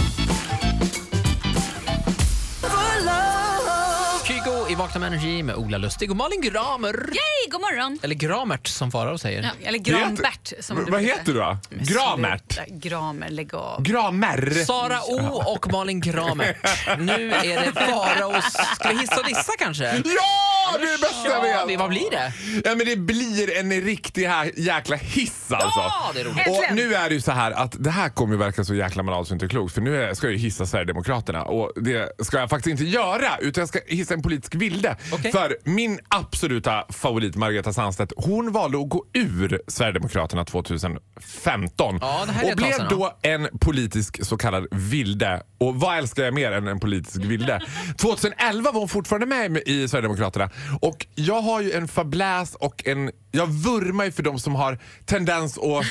Speaker 5: for love.
Speaker 2: Kygo i Vakna med Energy med Ola Lustig och Malin Gramer.
Speaker 4: Yay, god morgon!
Speaker 2: Eller Gramert som Farao säger.
Speaker 4: Ja, eller
Speaker 3: Det heter-
Speaker 4: Granbert som
Speaker 3: V- Vad heter du då? Gramert?
Speaker 4: Gramer, lägg av.
Speaker 3: Gramer?
Speaker 2: Sara O och Malin Gramert. Nu är det Faraos... Ska vi hissa och dissa kanske?
Speaker 3: Ja, det är det bästa jag
Speaker 2: Ja,
Speaker 3: vet!
Speaker 2: vi- vad blir det?
Speaker 3: Ja, men det blir en riktig här jäkla hiss alltså.
Speaker 2: det är roligt.
Speaker 3: Och
Speaker 4: Äntligen.
Speaker 3: nu är det ju så här att det här kommer ju verka så jäkla banalt så inte klokt för nu är- ska jag ju hissa Sverigedemokraterna och det ska jag faktiskt inte göra utan jag ska hissa en politisk vilde.
Speaker 2: Okej.
Speaker 3: För min absoluta favorit Margareta Sandstedt hon valde att gå ur Sverigedemokraterna 2015
Speaker 2: Ja, det här är ett
Speaker 3: och
Speaker 2: tag
Speaker 3: blev
Speaker 2: sedan,
Speaker 3: då en politisk så kallad vilde. Och vad älskar jag mer än en politisk vilde? 2011 var hon fortfarande med i Sverigedemokraterna och jag har ju en fabläs och en... Jag vurmar ju för de som har tendens att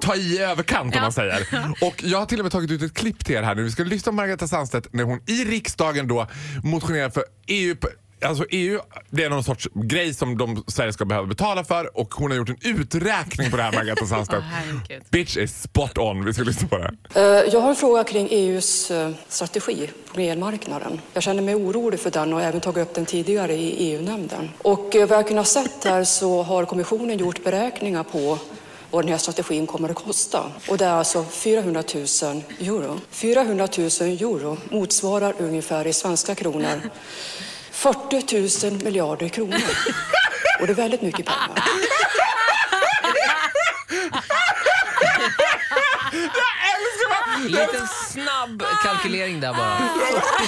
Speaker 3: ta i överkant om man säger. Och jag har till och med tagit ut ett klipp till er här nu. Vi ska lyssna på Margareta Sandstedt när hon i riksdagen då motionerar för EU Alltså EU, det är någon sorts grej som de Sverige ska behöva betala för och hon har gjort en uträkning på det här Margareta Sandstedt.
Speaker 4: Åh, herregud.
Speaker 3: Bitch är spot on. Vi ska lyssna på det.
Speaker 6: Eh, Jag har en fråga kring EUs eh, strategi på elmarknaden. Jag känner mig orolig för den och har även tagit upp den tidigare i EU-nämnden. Och eh, vad jag kunnat sett här så har kommissionen gjort beräkningar på vad den här strategin kommer att kosta. Och det är alltså 400 000 euro. 400 000 euro motsvarar ungefär i svenska kronor 40 000 miljarder kronor. Och det är väldigt mycket pengar.
Speaker 2: Liten snabb kalkylering där bara.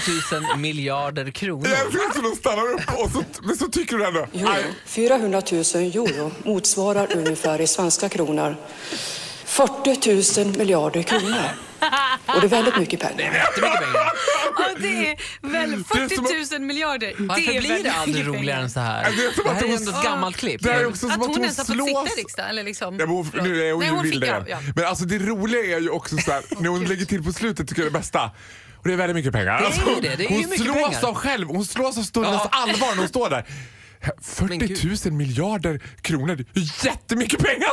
Speaker 2: 40 000 miljarder kronor.
Speaker 3: Jag älskar också att de stannar upp och så, men så tycker du ändå...
Speaker 6: Euro. 400 000 euro motsvarar ungefär i svenska kronor 40 000 miljarder kronor. Och det är väldigt mycket pengar.
Speaker 2: Jättemycket pengar.
Speaker 4: Ja, det är väl
Speaker 3: är som att-
Speaker 4: 40 000 miljarder.
Speaker 2: Varför
Speaker 4: är
Speaker 2: blir det
Speaker 4: väldigt
Speaker 2: aldrig
Speaker 4: mycket
Speaker 2: roligare
Speaker 4: pengar.
Speaker 2: än så här?
Speaker 3: Det är som
Speaker 2: Det
Speaker 3: att
Speaker 2: här är
Speaker 3: hon-
Speaker 2: ändå ett gammalt klipp.
Speaker 3: Det här är också
Speaker 4: Att
Speaker 3: som att
Speaker 4: hon
Speaker 3: hon
Speaker 4: ens har fått sitta i
Speaker 3: slås...
Speaker 4: riksdagen? Eller liksom,
Speaker 3: Ja, men hon,
Speaker 4: förlåt.
Speaker 3: nu är hon
Speaker 4: Nej,
Speaker 3: ju
Speaker 4: hon fick,
Speaker 3: vilde
Speaker 4: ja,
Speaker 3: igen.
Speaker 4: ja.
Speaker 3: Men alltså det roliga är ju också så här, när hon lägger till på slutet tycker jag det är det bästa. Och det är väldigt mycket pengar.
Speaker 2: är
Speaker 3: Alltså,
Speaker 2: ju det, det är ju
Speaker 3: hon
Speaker 2: mycket
Speaker 3: slås
Speaker 2: pengar.
Speaker 3: av själv, hon slås av stundens
Speaker 2: Ja.
Speaker 3: allvar när hon står där. 40 000 miljarder kronor, det är jättemycket pengar!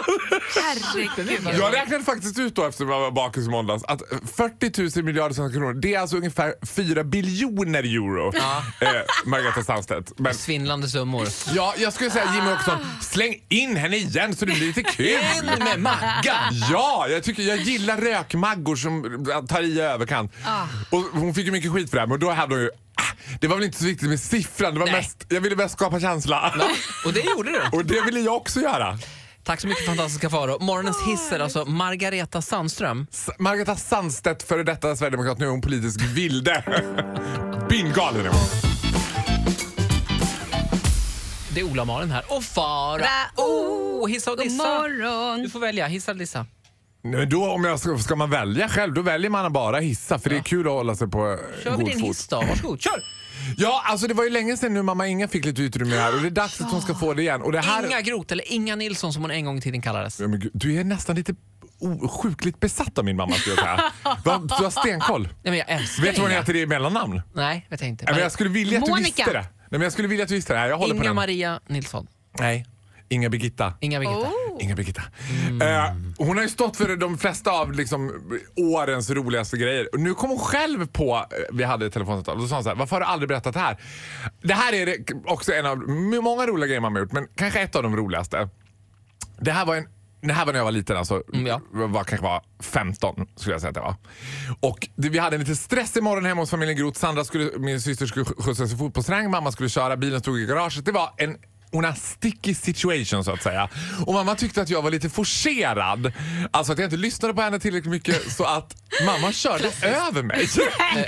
Speaker 4: Herregud.
Speaker 3: Jag räknade faktiskt ut då efter att jag var bakis i måndags att 40 000 miljarder svenska kronor, det är alltså ungefär 4 biljoner euro. Eh, Margareta Sandstedt. Men
Speaker 2: Svindlande summor.
Speaker 3: ja, jag skulle säga Jimmy Åkesson, släng in henne igen så det blir lite kul.
Speaker 2: Ah. In med Maggan!
Speaker 3: Ja, jag, tycker, jag gillar rökmaggor som tar i överkant.
Speaker 2: Ah.
Speaker 3: Och hon fick ju mycket skit för det här, men då hävdade hon ju "Ah, det var väl inte så viktigt med siffran, det var
Speaker 2: Nej.
Speaker 3: mest, jag ville mest skapa känsla.
Speaker 2: Och det gjorde du.
Speaker 3: Och det ville jag också göra.
Speaker 2: Tack så mycket fantastiska Faro. Morgonens hiss är alltså Margareta Sandström.
Speaker 3: S- Margareta Sandstedt, före detta sverigedemokrat, nu är hon politisk vilde. Bindgalen är hon.
Speaker 2: Det är Ola och Malin här. Och Farao! Hissa och
Speaker 4: oh. God
Speaker 2: dissa.
Speaker 4: morgon.
Speaker 2: Du får välja. Hissa eller dissa.
Speaker 3: Nej, men Då, om jag ska, ska man välja själv, då väljer man bara hissa för det är kul att hålla sig på eh,
Speaker 2: Kör vi
Speaker 3: god
Speaker 2: din
Speaker 3: fot.
Speaker 2: hiss då. Varsågod, kör!
Speaker 3: Ja, alltså det var ju länge sedan nu mamma Inga fick lite utrymme här och det är dags att hon ska få det igen. Och det här...
Speaker 2: Inga Groth, eller Inga Nilsson som hon en gång i tiden kallades.
Speaker 3: Ja, men gud, du är nästan lite o- sjukligt besatt av min mamma skulle jag säga. Va, Du har stenkoll.
Speaker 2: Nej, men jag älskar
Speaker 3: Vet du vad hon
Speaker 2: Inga.
Speaker 3: heter i mellannamn?
Speaker 2: Nej, vet jag inte.
Speaker 3: Nej, men jag skulle vilja att du
Speaker 4: Monica.
Speaker 3: visste det. Nej, men jag skulle vilja att du visste det. här. Jag håller på
Speaker 2: Inga
Speaker 3: den.
Speaker 2: Maria Nilsson.
Speaker 3: Nej, Inga Birgitta.
Speaker 2: Inga Birgitta.
Speaker 3: Inga Birgitta. Eh, hon har ju stått för de flesta av liksom, årens roligaste grejer. Och nu kom hon själv på, eh, vi hade ett telefonsamtal, och då sa hon så här, varför har du aldrig berättat det här? Det här är det, också en av många roliga grejer man har gjort, men kanske ett av de roligaste. Det här var en det här var när jag var liten, alltså.
Speaker 2: Mm, ja.
Speaker 3: Jag var, kanske var 15 skulle jag säga att jag var. Och det, vi hade en lite stressig morgon hemma hos familjen Groth. Sandra, skulle, min syster, skulle skj- skjutsas i fotbollsträning. Mamma skulle köra, bilen stod i garaget. Det var en una sticky situation så att säga. Och mamma tyckte att jag var lite forcerad. Alltså att jag inte lyssnade på henne tillräckligt mycket så att mamma körde över mig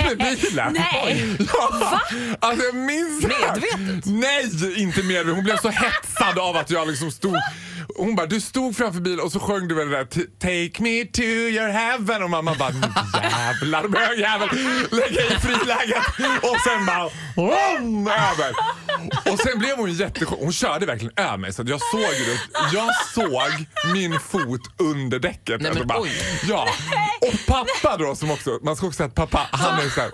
Speaker 3: med bilen.
Speaker 4: Nej.
Speaker 3: Ja. Alltså jag minns det här.
Speaker 2: Medvetet?
Speaker 3: Nej, inte medvetet. Hon blev så hetsad av att jag liksom stod... Hon bara, du stod framför bilen och så sjöng du väl det där "T- Take me to your heaven och mamma bara jävlar med en jävel lägga i friläget och sen bara vroom, över. Och sen blev hon jättesjuk. Hon körde verkligen över mig så att jag såg det. Jag såg min fot under däcket. Alltså
Speaker 2: Nej, men
Speaker 3: bara,
Speaker 2: oj.
Speaker 3: ja. Och pappa då som också, man ska också säga att pappa han är så här,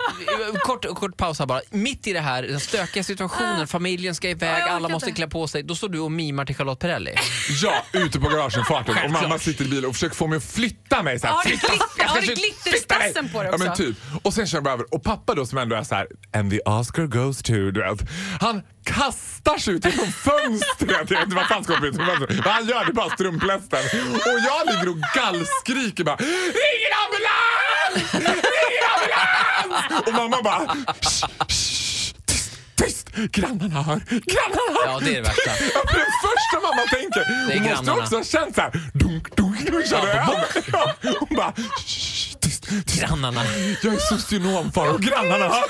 Speaker 2: Kort, kort paus här bara. Mitt i det här, den stökiga situationen, familjen ska iväg,
Speaker 4: Ah. jag
Speaker 2: alla
Speaker 4: orkar
Speaker 2: måste
Speaker 4: inte.
Speaker 2: klä på sig. Då står du och mimar till Charlotte Perrelli.
Speaker 3: Ja, ute på garageinfarten och
Speaker 2: Självklart.
Speaker 3: mamma sitter i bilen och försöker få mig att flytta mig. Så här,
Speaker 4: Har du
Speaker 3: flytta,
Speaker 4: glitter-
Speaker 3: jag ska
Speaker 4: har du
Speaker 3: flytta-
Speaker 4: glitterstassen
Speaker 3: flytta mig.
Speaker 4: på dig
Speaker 3: Ja men
Speaker 4: också?
Speaker 3: typ. Och sen kör jag bara över och pappa då som ändå är så här and the Oscar goes to, du vet. Han kastar sig ut genom fönstret. Jag vet inte vad fan ska han ut genom fönstret. Vad han gör det är bara strumplästen. Och jag ligger och gallskriker bara ring en ambulans! Ring en ambulans! Och mamma bara "Shh, shh, tyst, tyst, grannarna hör, grannarna hör.
Speaker 2: Ja, det är det värsta.
Speaker 3: Ja, för det första mamma tänker.
Speaker 2: Det är
Speaker 3: Hon måste
Speaker 2: grannarna.
Speaker 3: också ha känt såhär dunk, dunk, dunk. körde
Speaker 2: Ja,
Speaker 3: jag. Ja, Hon bara "Shh, tyst, tyst.
Speaker 2: Grannarna.
Speaker 3: Jag är socionom far och grannarna hör.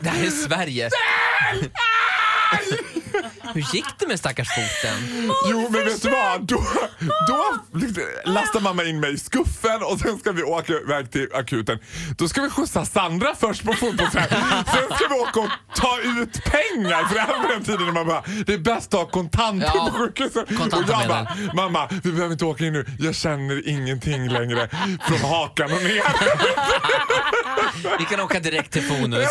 Speaker 2: Det här är Sverige. Hur gick det med stackars foten?
Speaker 3: Jo men vet du vad? Då, då liksom lastar mamma in mig i skuffen och sen ska vi åka iväg till akuten. Då ska vi skjutsa Sandra först på fotbollsträning. Sen ska vi åka och ta ut pengar. För det här var den tiden när man bara, det är bäst att ha kontanter
Speaker 2: Ja,
Speaker 3: på sjukhuset. Och jag
Speaker 2: kontanter med
Speaker 3: bara, mamma vi behöver inte åka in nu. Jag känner ingenting längre från hakan och ner.
Speaker 2: Vi kan åka direkt till Fonus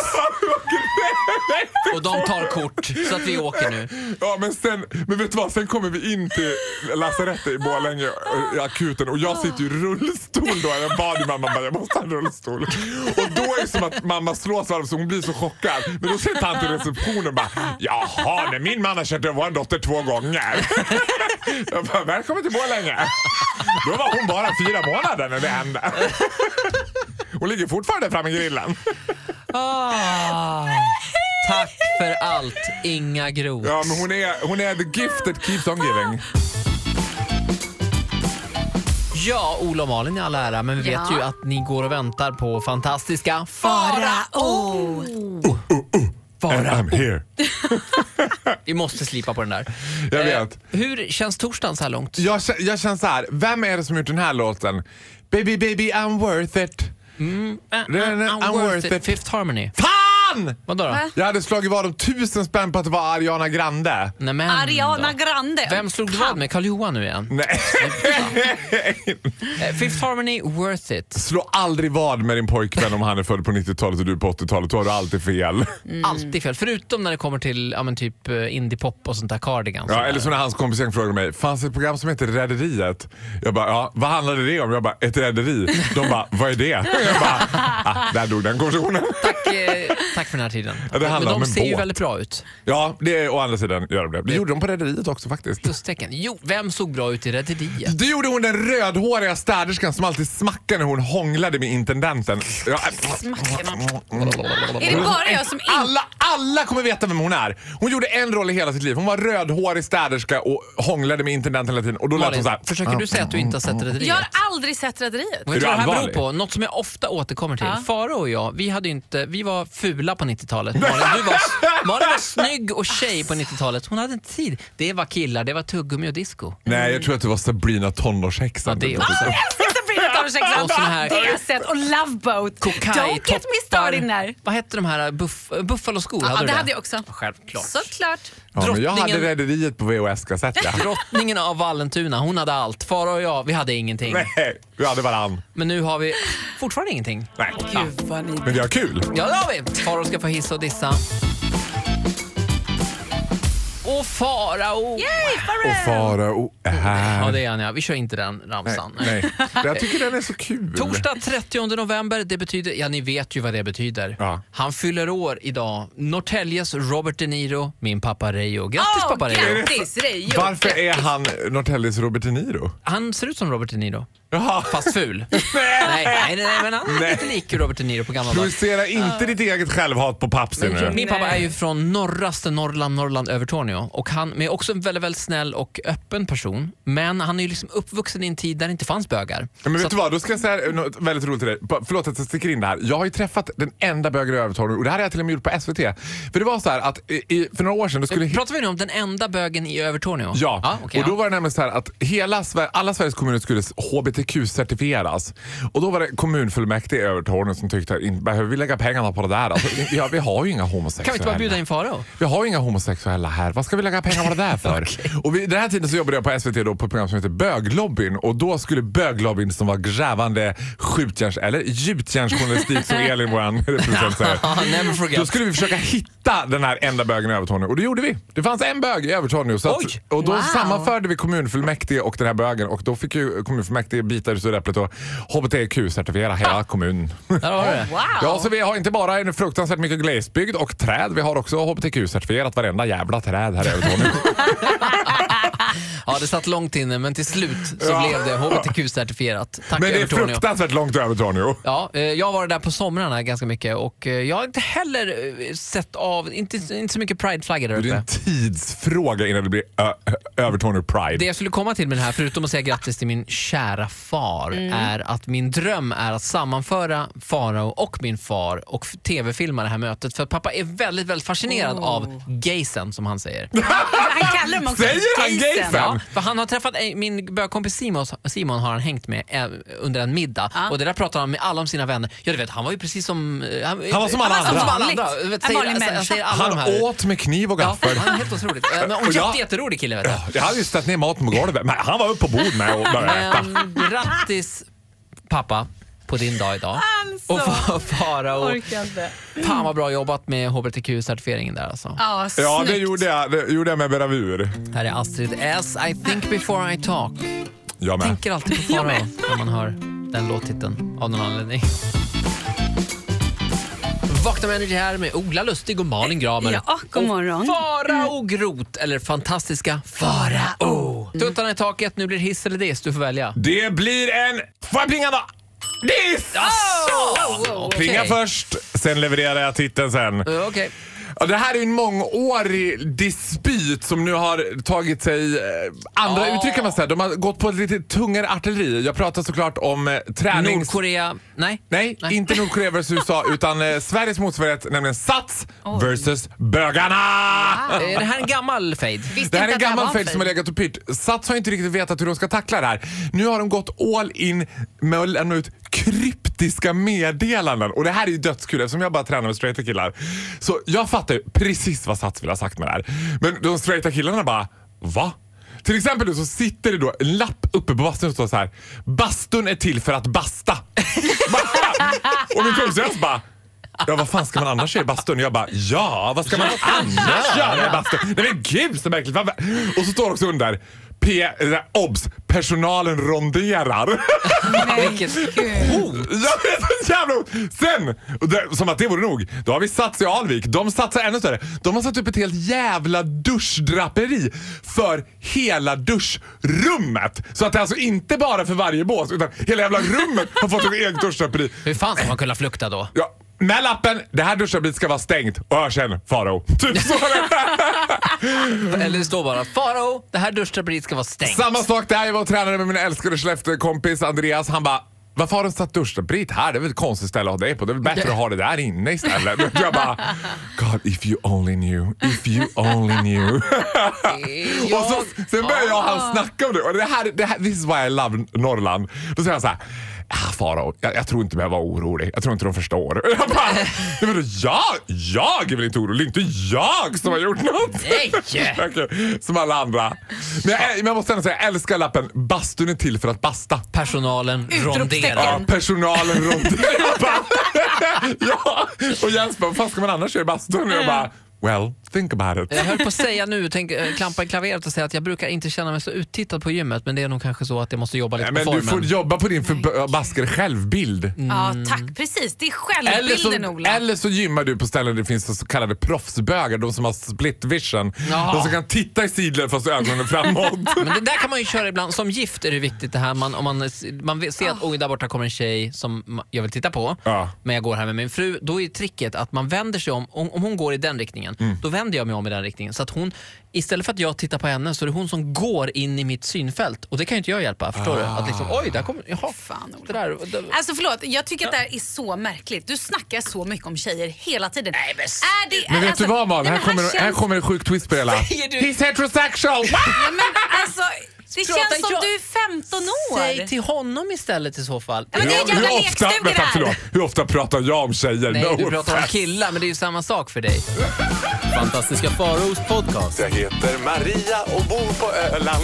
Speaker 2: och de tar kort så att vi åker nu.
Speaker 3: Ja, men, sen, men vet du vad? Sen kommer vi in till lasarettet i Borlänge, eh, i akuten, och jag sitter ju i rullstol då. Jag bad ju mamma bara, jag måste ha en rullstol. Och då är det som att mamma slås varv så hon blir så chockad. Men då sitter han till receptionen och bara, jaha, nej, min man har kört över vår dotter två gånger. Jag bara, välkommen till Borlänge. Då var hon bara fyra månader när det hände. Hon ligger fortfarande framme i grillen.
Speaker 2: Ah, tack för allt, Inga Groth.
Speaker 3: Ja, men hon är, hon är the gift that keeps on giving.
Speaker 2: Ja, Ola och Malin i all ära, men vi vet
Speaker 4: Ja.
Speaker 2: ju att ni går och väntar på fantastiska
Speaker 4: Farao.
Speaker 2: Farao.
Speaker 3: I'm here.
Speaker 2: Vi måste slipa på den där.
Speaker 3: Jag
Speaker 2: Eh,
Speaker 3: vet.
Speaker 2: hur känns torsdagen så här långt?
Speaker 3: Jag, kä- jag känner så här, vem är det som gjort den här låten? Baby baby I'm worth it.
Speaker 2: Uh, uh,
Speaker 3: Eh, I'm worth it.
Speaker 2: Fifth Harmony.
Speaker 3: Fan!
Speaker 2: Vadå då?
Speaker 4: Va?
Speaker 3: Jag hade slagit vad om tusen spänn på att det var Ariana Grande.
Speaker 2: Nej, men
Speaker 4: Ariana
Speaker 2: då.
Speaker 4: Grande.
Speaker 2: Vem slog du vad med? Karl Johan nu igen?
Speaker 3: Nej.
Speaker 2: Eh, Fifth Harmony, worth it.
Speaker 3: Slå aldrig vad med din pojkvän om han är född på 90-talet och du på 80-talet. Då har du alltid fel.
Speaker 2: Alltid fel. Förutom när det kommer till ja, men typ eh, indiepop och sånt där, Cardigans.
Speaker 3: Ja, eller som när hans kompis gäng frågade mig, fanns det ett program som heter Rederiet? Jag bara, ja, vad handlade det om? Jag bara, ett rederi. De bara, vad är det? Jag bara, ah, där dog den konversationen.
Speaker 2: Tack, eh, tack för den här tiden.
Speaker 3: Ja, det handlar
Speaker 2: Men de
Speaker 3: om en
Speaker 2: ser ju
Speaker 3: båt.
Speaker 2: väldigt bra ut.
Speaker 3: Ja, det är å andra sidan gör de det. Det gjorde de på Rederiet också faktiskt.
Speaker 2: Plustecken. Jo, vem såg bra ut i Rederiet?
Speaker 3: Det gjorde hon den rödhåriga städerskan som alltid smackade när hon hånglade med intendenten. Ja, Mm.
Speaker 4: Är det bara jag som inte...
Speaker 3: alla, alla kommer veta vem hon är. Hon gjorde en roll i hela sitt liv. Hon var rödhårig städerska och hånglade med intendenten hela tiden. Och då lät hon
Speaker 2: Malin,
Speaker 3: så här.
Speaker 2: försöker du säga att du inte har sett Rederiet?
Speaker 4: Jag har aldrig sett Rederiet.
Speaker 2: Vet du
Speaker 3: Är
Speaker 2: vad
Speaker 3: du
Speaker 2: det här beror
Speaker 3: allvarlig?
Speaker 2: på? Något som jag ofta återkommer till.
Speaker 4: Ja.
Speaker 2: Faro och jag, vi, hade ju inte, vi var fula på 90-talet. Malin, du var, Malin var snygg och tjej på 90-talet. Hon hade inte tid. Det var killar, det var tuggummi och disco.
Speaker 3: Nej, jag tror att det var Sabrina tonårshäxan. Typ.
Speaker 2: Ja, det också.
Speaker 4: Jag älskar Sabrina Tonårshäxan.
Speaker 2: Och sån här-
Speaker 4: Det har jag sett. Och Love Boat. Don't get me started där.
Speaker 2: Vad hette de här? Buff, buffaloskor?
Speaker 4: Ja,
Speaker 2: du
Speaker 4: det hade jag också.
Speaker 2: Självklart.
Speaker 4: Såklart.
Speaker 3: ja, men jag hade
Speaker 2: drottningen-
Speaker 3: Rederiet på VHS-kassett. Ja.
Speaker 2: Drottningen av Vallentuna, hon hade allt. Faro och jag, vi hade ingenting.
Speaker 3: Nej, vi hade varann.
Speaker 2: Men nu har vi fortfarande ingenting.
Speaker 3: Nej.
Speaker 4: Gud vad ni...
Speaker 3: Men vi har kul.
Speaker 2: Ja, det har vi! Faro ska få hissa och dissa. Och farao!
Speaker 4: Yay,
Speaker 3: Och
Speaker 4: Farao!
Speaker 3: farao är
Speaker 2: Ja,
Speaker 3: här.
Speaker 2: det är han ja. Vi kör inte den ramsan.
Speaker 3: Nej. Jag tycker den är så kul.
Speaker 2: Torsdag 30 november, det betyder, ja ni vet ju vad det betyder.
Speaker 3: Ja.
Speaker 2: Han fyller år idag. Norrtäljes Robert De Niro, min pappa Reijo. Grattis
Speaker 4: Åh,
Speaker 2: pappa Reijo!
Speaker 4: grattis, Reijo!
Speaker 3: Varför är han Norrtäljes Robert De Niro?
Speaker 2: Han ser ut som Robert De Niro,
Speaker 3: Jaha.
Speaker 2: fast ful. nej, nej, nej, men han är
Speaker 3: Nej.
Speaker 2: lite lik Robert De Niro på gamla dagar.
Speaker 3: Projicera inte ditt eget självhat på Papsi nu.
Speaker 2: Min pappa är ju från norraste Norrland, Norrland, Övertorneå. Och han men är också en väldigt, väldigt snäll och öppen person. Men han är ju liksom uppvuxen i en tid där det inte fanns bögar.
Speaker 3: Ja, Men
Speaker 2: Så
Speaker 3: vet du vad, då ska jag säga något väldigt roligt till dig. Ba- Förlåt att jag sticker in det här. Jag har ju träffat den enda bögen i Övertorneå och det här har jag till och med gjort på SVT. För det var så här att i, i, för några år sedan, då skulle...
Speaker 2: Pratar vi nu om den enda bögen i Övertorneå?
Speaker 3: Ja,
Speaker 2: okej,
Speaker 3: och då
Speaker 2: ja.
Speaker 3: var det nämligen så här att hela, Sver- alla Sveriges kommuner skulle HBTQ-certifieras. Och då var det kommunfullmäktige i Övertorneå som tyckte att inte behöver vi lägga pengarna på det där. Alltså, ja, vi har ju inga homosexuella.
Speaker 2: Kan vi inte bara bjuda in Farao?
Speaker 3: Vi har ju inga homosexuella här. Vad ska vi lägga pengar på det där för? Och vid den här tiden så jobbade jag på SVT då på ett program som heter Böglobbyn. Och då skulle böglobbyn som var grävande skjutjärns eller gjutjärnsjournalistik som Elin, vår representant, säger.
Speaker 2: Never forget.
Speaker 3: Då skulle vi försöka hitta den här enda bögen i Övertorneå och det gjorde vi. Det fanns en bög i Övertorneå. Så
Speaker 2: Oj!
Speaker 3: att, och då
Speaker 1: Wow.
Speaker 3: sammanförde vi kommunfullmäktige och den här bögen och då fick ju kommunfullmäktige bitar ut ur äpplet och HBTQ-certifiera hela kommunen.
Speaker 2: Där har du det.
Speaker 3: Ja, så vi har inte bara en fruktansvärt mycket glesbygd och träd. Vi har också HBTQ-certifierat varenda jävla träd här i Övertorneå.
Speaker 2: Ja, det satt långt inne, men till slut så
Speaker 3: Ja.
Speaker 2: blev det HBTQ-certifierat. Tack
Speaker 3: Men det är
Speaker 2: Övertorneå.
Speaker 3: fruktansvärt långt till Övertorneå.
Speaker 2: Ja, eh, jag har varit där på somrarna ganska mycket och eh, jag har inte heller eh, sett av, inte, inte så mycket prideflaggor där
Speaker 3: Det är
Speaker 2: uppe.
Speaker 3: en tidsfråga innan det blir Ö- Ö- Övertorneå Pride.
Speaker 2: Det jag skulle komma till med det här, förutom att säga grattis till min kära far, är att min dröm är att sammanföra Farao och min far och f- tv-filma det här mötet. För pappa är väldigt, väldigt fascinerad av gaysen, som han säger.
Speaker 4: Han kallar dem också
Speaker 3: Säger han
Speaker 4: Jason.
Speaker 3: Jason?
Speaker 2: Ja, för han har träffat en- min bögkompis Simon, Simon har han hängt med eh, under en middag och det där pratar han med alla om sina vänner. Ja, du vet, han var ju precis som... eh, Han,
Speaker 3: Han var som alla andra.
Speaker 2: Du vet,
Speaker 4: En vanlig
Speaker 2: säger, säger,
Speaker 4: människa.
Speaker 2: säger alla de
Speaker 3: Han
Speaker 2: här.
Speaker 3: åt med kniv och
Speaker 2: Ja,
Speaker 3: gaffel.
Speaker 2: han är helt otroligt. Eh, Men, och
Speaker 3: Och jag-
Speaker 2: jätte, jätterolig kille vet jag.
Speaker 3: Jag hade ju ställt ner maten på golvet, men han var uppe på bordet med och började äta.
Speaker 2: Men grattis pappa på din dag idag.
Speaker 4: Alltså.
Speaker 2: Och fa- Farao,
Speaker 4: Orkar inte.
Speaker 2: fan vad bra jobbat med hbtq-certifieringen där alltså.
Speaker 4: Ja, snyggt.
Speaker 3: Ja, det gjorde jag, det gjorde jag med bravur.
Speaker 2: Här är Astrid S, I think before I talk.
Speaker 3: Jag med.
Speaker 2: Tänker alltid på Farao när man hör den låttiteln av någon anledning. Vakna med Energy här med Ola Lustig och Malin Gramer.
Speaker 4: Ja, god morgon. Mm.
Speaker 2: Farao Groth, eller fantastiska Farao. Tuttarna i taket, nu blir det hiss eller diss, du får välja.
Speaker 3: Det blir en... Får jag plinga då? Diss!
Speaker 2: Wow,
Speaker 3: Plinga
Speaker 2: okej.
Speaker 3: först, sen levererar jag titeln sen.
Speaker 2: Eh, Okej.
Speaker 3: Ja, det här är ju en mångårig dispyt som nu har tagit sig eh, andra
Speaker 2: Ja.
Speaker 3: uttryck kan man säga. De har gått på ett lite tungare artilleri. Jag pratar såklart om eh, tränings...
Speaker 2: Nordkorea, nej.
Speaker 3: Nej,
Speaker 2: Nej.
Speaker 3: inte Nordkorea vs USA utan eh, Sveriges motsvarighet, nämligen Sats versus Bögarna!
Speaker 4: Ah.
Speaker 2: Är Eh, det här en gammal fade?
Speaker 3: Det här är en
Speaker 4: inte att det här
Speaker 3: gammal
Speaker 4: var
Speaker 3: fade
Speaker 4: fade.
Speaker 3: som har legat och pyrt. Sats har inte riktigt vetat hur de ska tackla det här. Nu har de gått all in med att lämna ut kryptiska meddelanden. Och det här är ju dödskul eftersom jag bara tränar med straighta killar. Så jag fattar ju precis vad Sats vill ha sagt med det här. Men de straighta killarna bara, va? Till exempel nu så sitter det då en lapp uppe på bastun som står så här. Bastun är till för att basta. Bara- och min kompis bara Ja, vad fan ska man annars göra i bastun? Jag bara, ja, vad ska man annars göra i bastun? Nej men gud så märkligt. Vad- Och så står det också under, P, eh, obs, personalen ronderar.
Speaker 2: Vilket hot!
Speaker 3: Ja, det är så jävla ont. Sen, och det, som att det vore nog, då har vi Sats i Alvik. De satsar ännu större. De har satt upp ett helt jävla duschdraperi för hela duschrummet. Så att det är alltså inte bara för varje bås, utan hela jävla rummet har fått ett eget duschdraperi.
Speaker 2: Hur fan ska man kunna flukta då?
Speaker 3: Ja, med lappen, det här duschdraperiet ska vara stängt. Och hör sen, Farao. Typ så.
Speaker 2: Eller det står bara Farao, det här duschdraperiet ska vara stängt.
Speaker 3: Samma sak där, jag var och tränade med min älskade Skellefteå-kompis Andreas. Han bara, varför har de satt duschdraperiet här? Det är väl ett konstigt ställe att ha det på. Det är väl bättre att ha det där inne istället. Men jag bara, God if you only knew, if you only knew.
Speaker 2: Ja. Ah.
Speaker 3: Och så, sen börjar jag och han snacka om det. Och det här, det här, this is why I love Norrland. Då säger han så här. Ah, Farao, jag, jag tror inte du behöver vara orolig. Jag tror inte de förstår. Och Jag bara, "Nej, men jag, jag är väl inte orolig? Inte jag som har gjort något.
Speaker 2: Nej!
Speaker 3: Okej, som alla andra. Men jag, men jag måste ändå säga, jag älskar lappen. Bastun är till för att basta.
Speaker 2: Personalen
Speaker 4: Utropstecken.
Speaker 2: ronderar.
Speaker 3: Ja, personalen
Speaker 2: Mm.
Speaker 3: runt Jag bara, Ja, och Jens bara, vad fan ska man annars göra i bastun? Och jag bara, Well, think about it.
Speaker 2: Jag höll på att säga nu, tänk, eh, klampa i klaveret och säga att jag brukar inte känna mig så uttittad på gymmet men det är nog kanske så att jag måste jobba lite
Speaker 3: Nej,
Speaker 2: på
Speaker 3: men du
Speaker 2: formen.
Speaker 3: får jobba på din förbaskade självbild.
Speaker 4: Ja, tack. Precis. Det Mm. är
Speaker 3: Mm. Eller
Speaker 4: självbilden,
Speaker 3: så,
Speaker 4: Ola.
Speaker 3: eller så gymmar du på ställen där det finns så kallade proffsbögar, de som har split vision.
Speaker 2: Ja.
Speaker 3: De som kan titta i sidled fast ögonen är framåt.
Speaker 2: Men det där kan man ju köra ibland. Som gift är det viktigt det här. Man, om man, man vill- ser att
Speaker 4: Ah.
Speaker 2: oj, där borta kommer en tjej som ma- jag vill titta på,
Speaker 3: Ja.
Speaker 2: men jag går här med min fru. Då är tricket att man vänder sig om. Om, om hon går i den riktningen,
Speaker 3: Mm.
Speaker 2: då vänder jag mig om i den riktningen. Så att hon, istället för att jag tittar på henne så är det hon som går in i mitt synfält. Och det kan ju inte jag hjälpa. Förstår du? Att liksom,
Speaker 3: Ah.
Speaker 2: oj, där kommer... Jaha,
Speaker 4: Fan, Ola.
Speaker 2: det där, det,
Speaker 4: Alltså förlåt, jag tycker att det här är så märkligt. Du snackar så mycket om tjejer hela tiden. Nej,
Speaker 2: men-
Speaker 4: är det,
Speaker 3: Men vet
Speaker 4: alltså,
Speaker 3: du vad Malin?
Speaker 4: nej,
Speaker 3: Här
Speaker 4: men
Speaker 3: kommer,
Speaker 4: han
Speaker 3: här
Speaker 4: känns-
Speaker 3: kommer en sjuk twist på det hela.
Speaker 2: Säger du-
Speaker 3: He's heterosexual!
Speaker 4: Ja, men alltså, det
Speaker 2: Prata
Speaker 4: känns som
Speaker 2: jag-
Speaker 4: du är 15 år.
Speaker 2: Säg till honom istället i så fall.
Speaker 4: Men det är en jävla lekstuga det
Speaker 3: vänta,
Speaker 4: här.
Speaker 3: förlåt, hur ofta pratar jag om tjejer?
Speaker 2: Nej,
Speaker 3: no
Speaker 2: du pratar om
Speaker 3: offense.
Speaker 2: killar, men det är ju samma sak för dig. Fantastiska Faros podcast.
Speaker 3: Jag heter Maria och bor på Öland.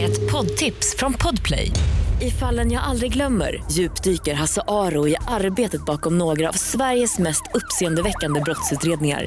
Speaker 1: Ett poddtips från Podplay. I fallen jag aldrig glömmer djupdyker Hasse Aro i arbetet bakom några av Sveriges mest uppseendeväckande brottsutredningar.